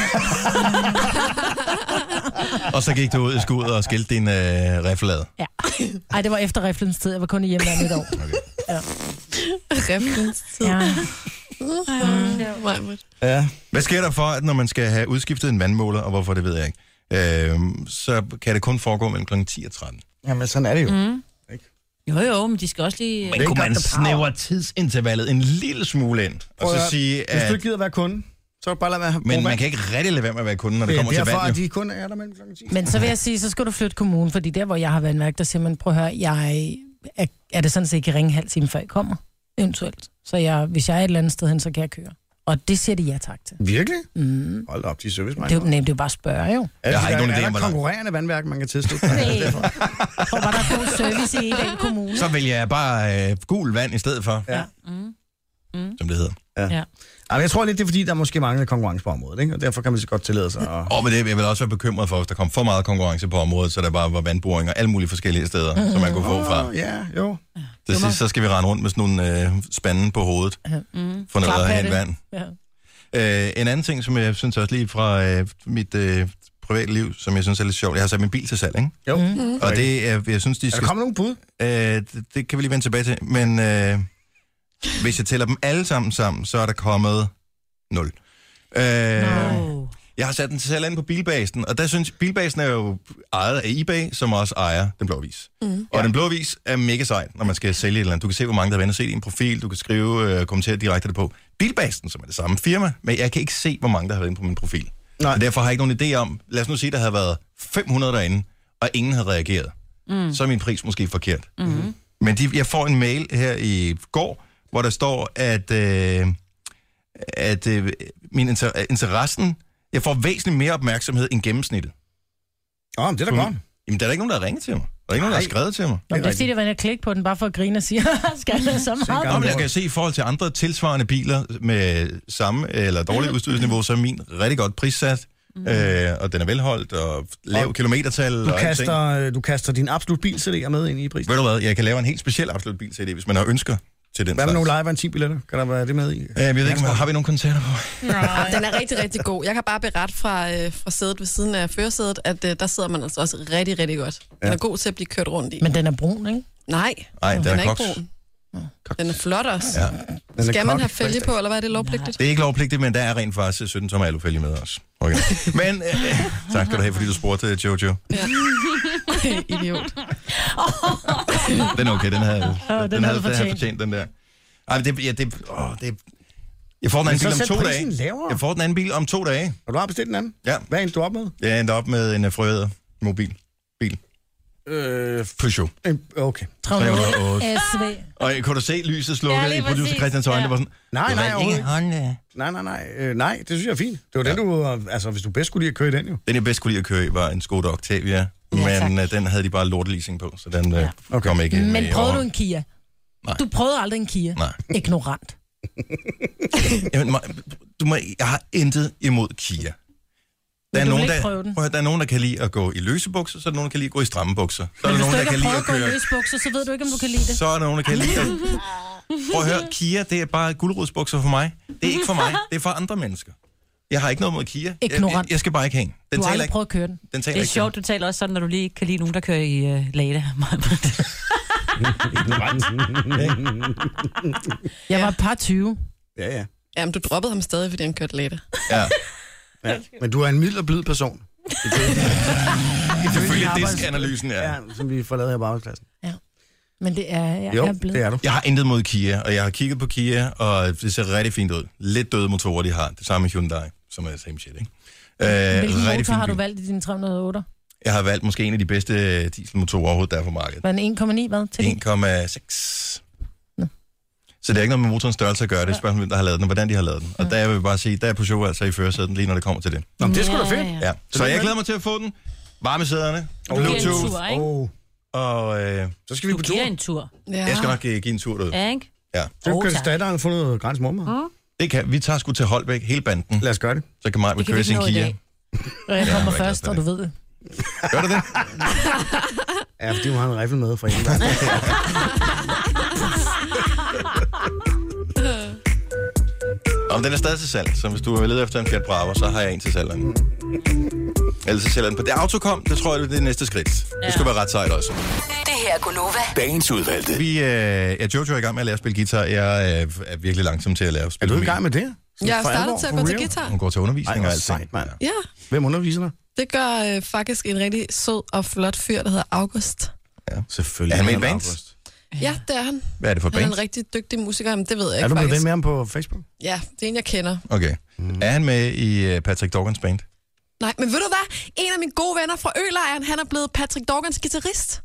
Og så gik du ud i skuret og skilte din øh, riflad. Ja. (laughs) Ej, det var efter riflens tid, jeg var kun i hjemlandet et år. Okay. Ja. Riflens tid. Ja. Mm. Ja. Hvad sker der for, at når man skal have udskiftet en vandmåler, og hvorfor det ved jeg ikke, øh, så kan det kun foregå mellem kl. 10 og 13. Jamen, sådan er det jo. Mm. Jo, jo, men de skal også lige... Men kunne man snævre tidsintervallet en lille smule ind, og Prøv så høre, sige, Hvis du at... ikke gider være kunde, så bare lad være. Men man kan ikke rigtig lade være med at være kunde, når det Det er kommer til derfor, vand. at de kun er der mellem klokken 10. Men så vil jeg sige, så skal du flytte kommunen, fordi der, hvor jeg har vandværk, der siger man, prøv at høre, jeg er, er det sådan set, jeg kan ringe en halv time, før jeg kommer, eventuelt. Så jeg, hvis jeg er et eller andet sted hen, så kan jeg køre. Og det siger de ja tak til. Virkelig? Mm. Hold da op, de er service Det er jo, nej, det er jo bare at spørge jo. Jeg har ikke nogen idé er om, der hvor langt- konkurrerende vandværk, man kan tilslutte? (laughs) Nej. Jeg tror bare, der er god service i den kommune. Så vælger jeg bare øh, gul vand i stedet for, ja. Mm. som det hedder. Ja. Jamen, jeg tror lidt, det er fordi, der måske mangler konkurrence på området, ikke? og derfor kan man så godt tillade sig at... Og med det, jeg vil også være bekymret for, hvis der kom for meget konkurrence på området, så der bare var vandboringer alle mulige forskellige steder, mm. som man kunne få fra. Åh, Ja, jo. Til sidst, så skal vi rende rundt med sådan nogle øh, spande på hovedet, Mm. for noget at have et vand. Ja. Øh, en anden ting, som jeg synes også lige fra øh, mit øh, privatliv, som jeg synes er lidt sjovt, jeg har sat min bil til salg, ikke? Jo. Mm. Og det, øh, jeg synes, de Er skal... der kommet nogle bud? Øh, det, det kan vi lige vende tilbage til, men øh, hvis jeg tæller dem alle sammen sammen, så er der kommet 0. Øh, No. Jeg har sat den til salg ind på Bilbasen, og der synes Bilbasen er jo ejet af eBay, som også ejer Den Blå Vis. Mm. Og Den Blå Vis er mega sej, når man skal sælge et eller andet. Du kan se, hvor mange der har været inde og set din profil, du kan skrive øh, kommentere direkte på. Bilbasen, som er det samme firma, men jeg kan ikke se, hvor mange der har været inde på min profil. Nej. Så derfor har jeg ikke nogen idé om, lad os nu sige, der havde været 500 derinde, og ingen havde reageret. Mm. Så er min pris måske forkert. Mm-hmm. Men de, jeg får en mail her i går, hvor der står, at, øh, at øh, min inter- interessen, jeg får væsentligt mere opmærksomhed end gennemsnittet. Åh, men det er da godt. Jamen, der er da ikke nogen, der har ringet til mig. Der er ikke nogen, der har skrevet til mig. Nå, men det er fordi, det var at klikke på den, bare for at grine og sige, (laughs) skal jeg så meget? Nå, men jeg kan se i forhold til andre tilsvarende biler med samme eller Mhm. dårligt udstyrsniveau, så er min rigtig godt prissat, øh, og den er velholdt, og lav Og kilometertal Du og alting. kaster, øh, du kaster din absolut bil CD'er med ind i prisen. Ved du hvad, jeg kan lave en helt speciel absolut bil til det, hvis man har ønsker til den Hvad med slags. nogle live en 10 billetter? Kan der være det med i? Øh, Jeg ved ikke, om- har vi nogle koncerter på? (laughs) Ja, den er rigtig, rigtig god. Jeg kan bare berette fra, øh, fra sædet ved siden af førersædet, at øh, der sidder man altså også rigtig, rigtig godt. Den Ja. er god til at blive kørt rundt i. Men den er brun, ikke? Nej, Nej, den er er ikke koks. brun. Den er flot også. Ja. Ja. Skal man have fælge på, eller hvad er det lovpligtigt? (laughs) Det er ikke lovpligtigt, men der er rent faktisk 17 tommer alufælge med os. (laughs) Okay. Men øh, tak skal du have, fordi du spurgte, øh, Jojo. Ja. Idiot. (laughs) Den er okay, den havde, den den, havde havde, du den havde fortjent. fortjent, den der. Ej, men det, ja, det, åh, det, jeg får den Men anden så bil om sæt to prisen dage. lavere. Jeg får den anden bil om to dage. Og du har bestilt en anden? Ja. Hvad endte du op med? Jeg endte op med en øh, frøder mobil. Bil. Øh, Peugeot. okay. 308. SV. Og øh, kunne du se lyset Ja, slukket lige i producer præcis. Christians øjne? Ja. Ja. Var sådan, Nej, "Du nej, vandt overhovedet ikke." Honda. Nej, nej, nej. Øh, nej, det synes jeg er fint. Det var ja. den, du... øh, Altså, hvis du bedst kunne lide at køre i den, jo. Den, jeg bedst kunne lide at køre i, var en Skoda Octavia. tak. men øh, den havde de bare lorteleasing på, så den øh, okay. kom ikke med Men i prøvede år. du en Kia? Nej. Du prøvede aldrig en Kia? Nej. Ignorant. Jamen, må- du må, jeg har intet imod Kia. Der er, du vil nogen, ikke der, prøve den? prøv, at høre, der er nogen, der kan lide at gå i løse bukser, så er der nogen, der kan lide at gå i stramme bukser. Så er der Hvis nogen, du der ikke kan har lide prøvet at at gå i køre... løsbukser, så ved du ikke, om du kan lide det. Så er der nogen, der kan lide at... (laughs) Prøv at høre, Kia, det er bare guldrodsbukser for mig. Det er ikke for mig, det er for andre mennesker. Jeg har ikke noget mod Kia. Jeg, jeg, Ignorant. jeg skal bare ikke hænge. Den du har taler aldrig ikke. prøvet at køre den. Den taler det er ikke til sjovt, du taler også sådan, når du lige kan lide nogen, der kører i øh, Lada. Jeg var et par 20. Ja, ja. Jamen, du droppede ham stadig, fordi han kørte lidt. (laughs) Ja. ja. Men du er en mild og blid person. Selvfølgelig Arbejds- diskanalysen, ja. ja. som vi får lavet her på arbejdspladsen. Men det er, jeg Jo, er blevet. Det er du. Jeg har intet mod Kia, og jeg har kigget på Kia, og det ser rigtig fint ud. Lidt døde motorer, de har. Det samme med Hyundai, som er same shit, ikke? Øh, Hvilken rigtig motor fin har du bil. valgt i din 308? Jeg har valgt måske en af de bedste øh, dieselmotorer overhovedet, der er på markedet. Var den 1,9 hvad? Til din? 1,6. Så det er ikke noget med motorens størrelse at gøre, det er et spørgsmål, hvem der har lavet den, og hvordan de har lavet den. Og der vil jeg bare sige, der er Peugeot altså i førersæden, lige når det kommer til det. Nå, men det er sgu da fedt. Ja. Så jeg glæder mig til at få den. Varme sæderne, Du giver en Bluetooth, tur, ikke? Oh. og øh, Så skal vi på Du tur. giver en tur. jeg skal nok øh, give en tur derud. Ja, ikke? Ja. Så Åh, kan tak. statteren have fundet græns mormor. Det kan, vi tager sgu til Holbæk, hele banden. Lad os gøre det. Så kan mig med Det kan vi køre sin ikke nå i Kia. dag. Og jeg Ja, kommer jeg er glad først, for og du ved det. Gør du det? Ja, fordi hun har en riffel med fra England. Om den er stadig til salg, så hvis du leder efter en Fiat Bravo, så har jeg en til salg. Ellers så sælger jeg den på det autokom, det tror jeg, det er det næste skridt. Det skulle være ret sejt også. Det her er Gunova. Dagens udvalgte. Vi, øh, ja, Jojo er i gang med at lære at spille guitar. Jeg øh, er virkelig langsom til at lære at spille (laughs) Er du i gang med det? Jeg er startet til at gå til guitar. Hun går til undervisning Ej, og hvor alt sejt, mand. Ja, Hvem underviser dig? det gør øh, faktisk en rigtig sød og flot fyr, der hedder August. Ja, selvfølgelig. Er han med i August. bands? Ja, det er han. Hvad er det for Han er en bands? rigtig dygtig musiker, men det ved jeg Er ikke du blevet faktisk. ven med ham på Facebook? Ja, det er en, jeg kender. Okay. Mm. Er han med i øh, Patrick Dorgans band? Nej, men ved du hvad? En af mine gode venner fra Ølejren, han er blevet Patrick Dorgans guitarist.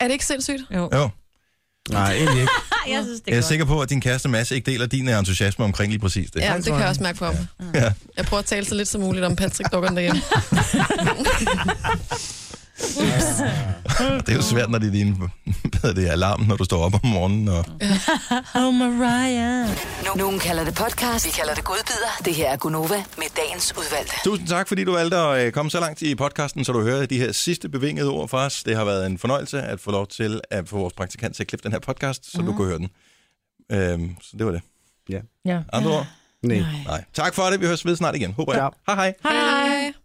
Er det ikke sindssygt? Jo. Nej, egentlig ikke. jeg synes, det Jeg er sikker på, at din kæreste Mads ikke deler din entusiasme omkring lige præcis det. Ja, det kan jeg også mærke på ham. Ja. Jeg prøver at tale så lidt som muligt om Patrick-dukkerne derhjemme. Det er jo svært, når det er din (laughs) hvad er det, alarm, når du står op om morgenen. Og... Oh, Mariah. Nogen kalder det podcast, vi kalder det godbider. Det her er Gunova med dagens udvalgte. Tusind tak, fordi du valgte at øh, komme så langt i podcasten, så du hører de her sidste bevingede ord fra os. Det har været en fornøjelse at få lov til at få vores praktikant til at klippe den her podcast, så mm. du Mhm. kunne høre den. Øhm, så det var det. Ja. Ja. Andre ord? Nej. Nej. Tak for det. Vi høres ved snart igen. Håber jeg. Ja. Hej hej. Hej.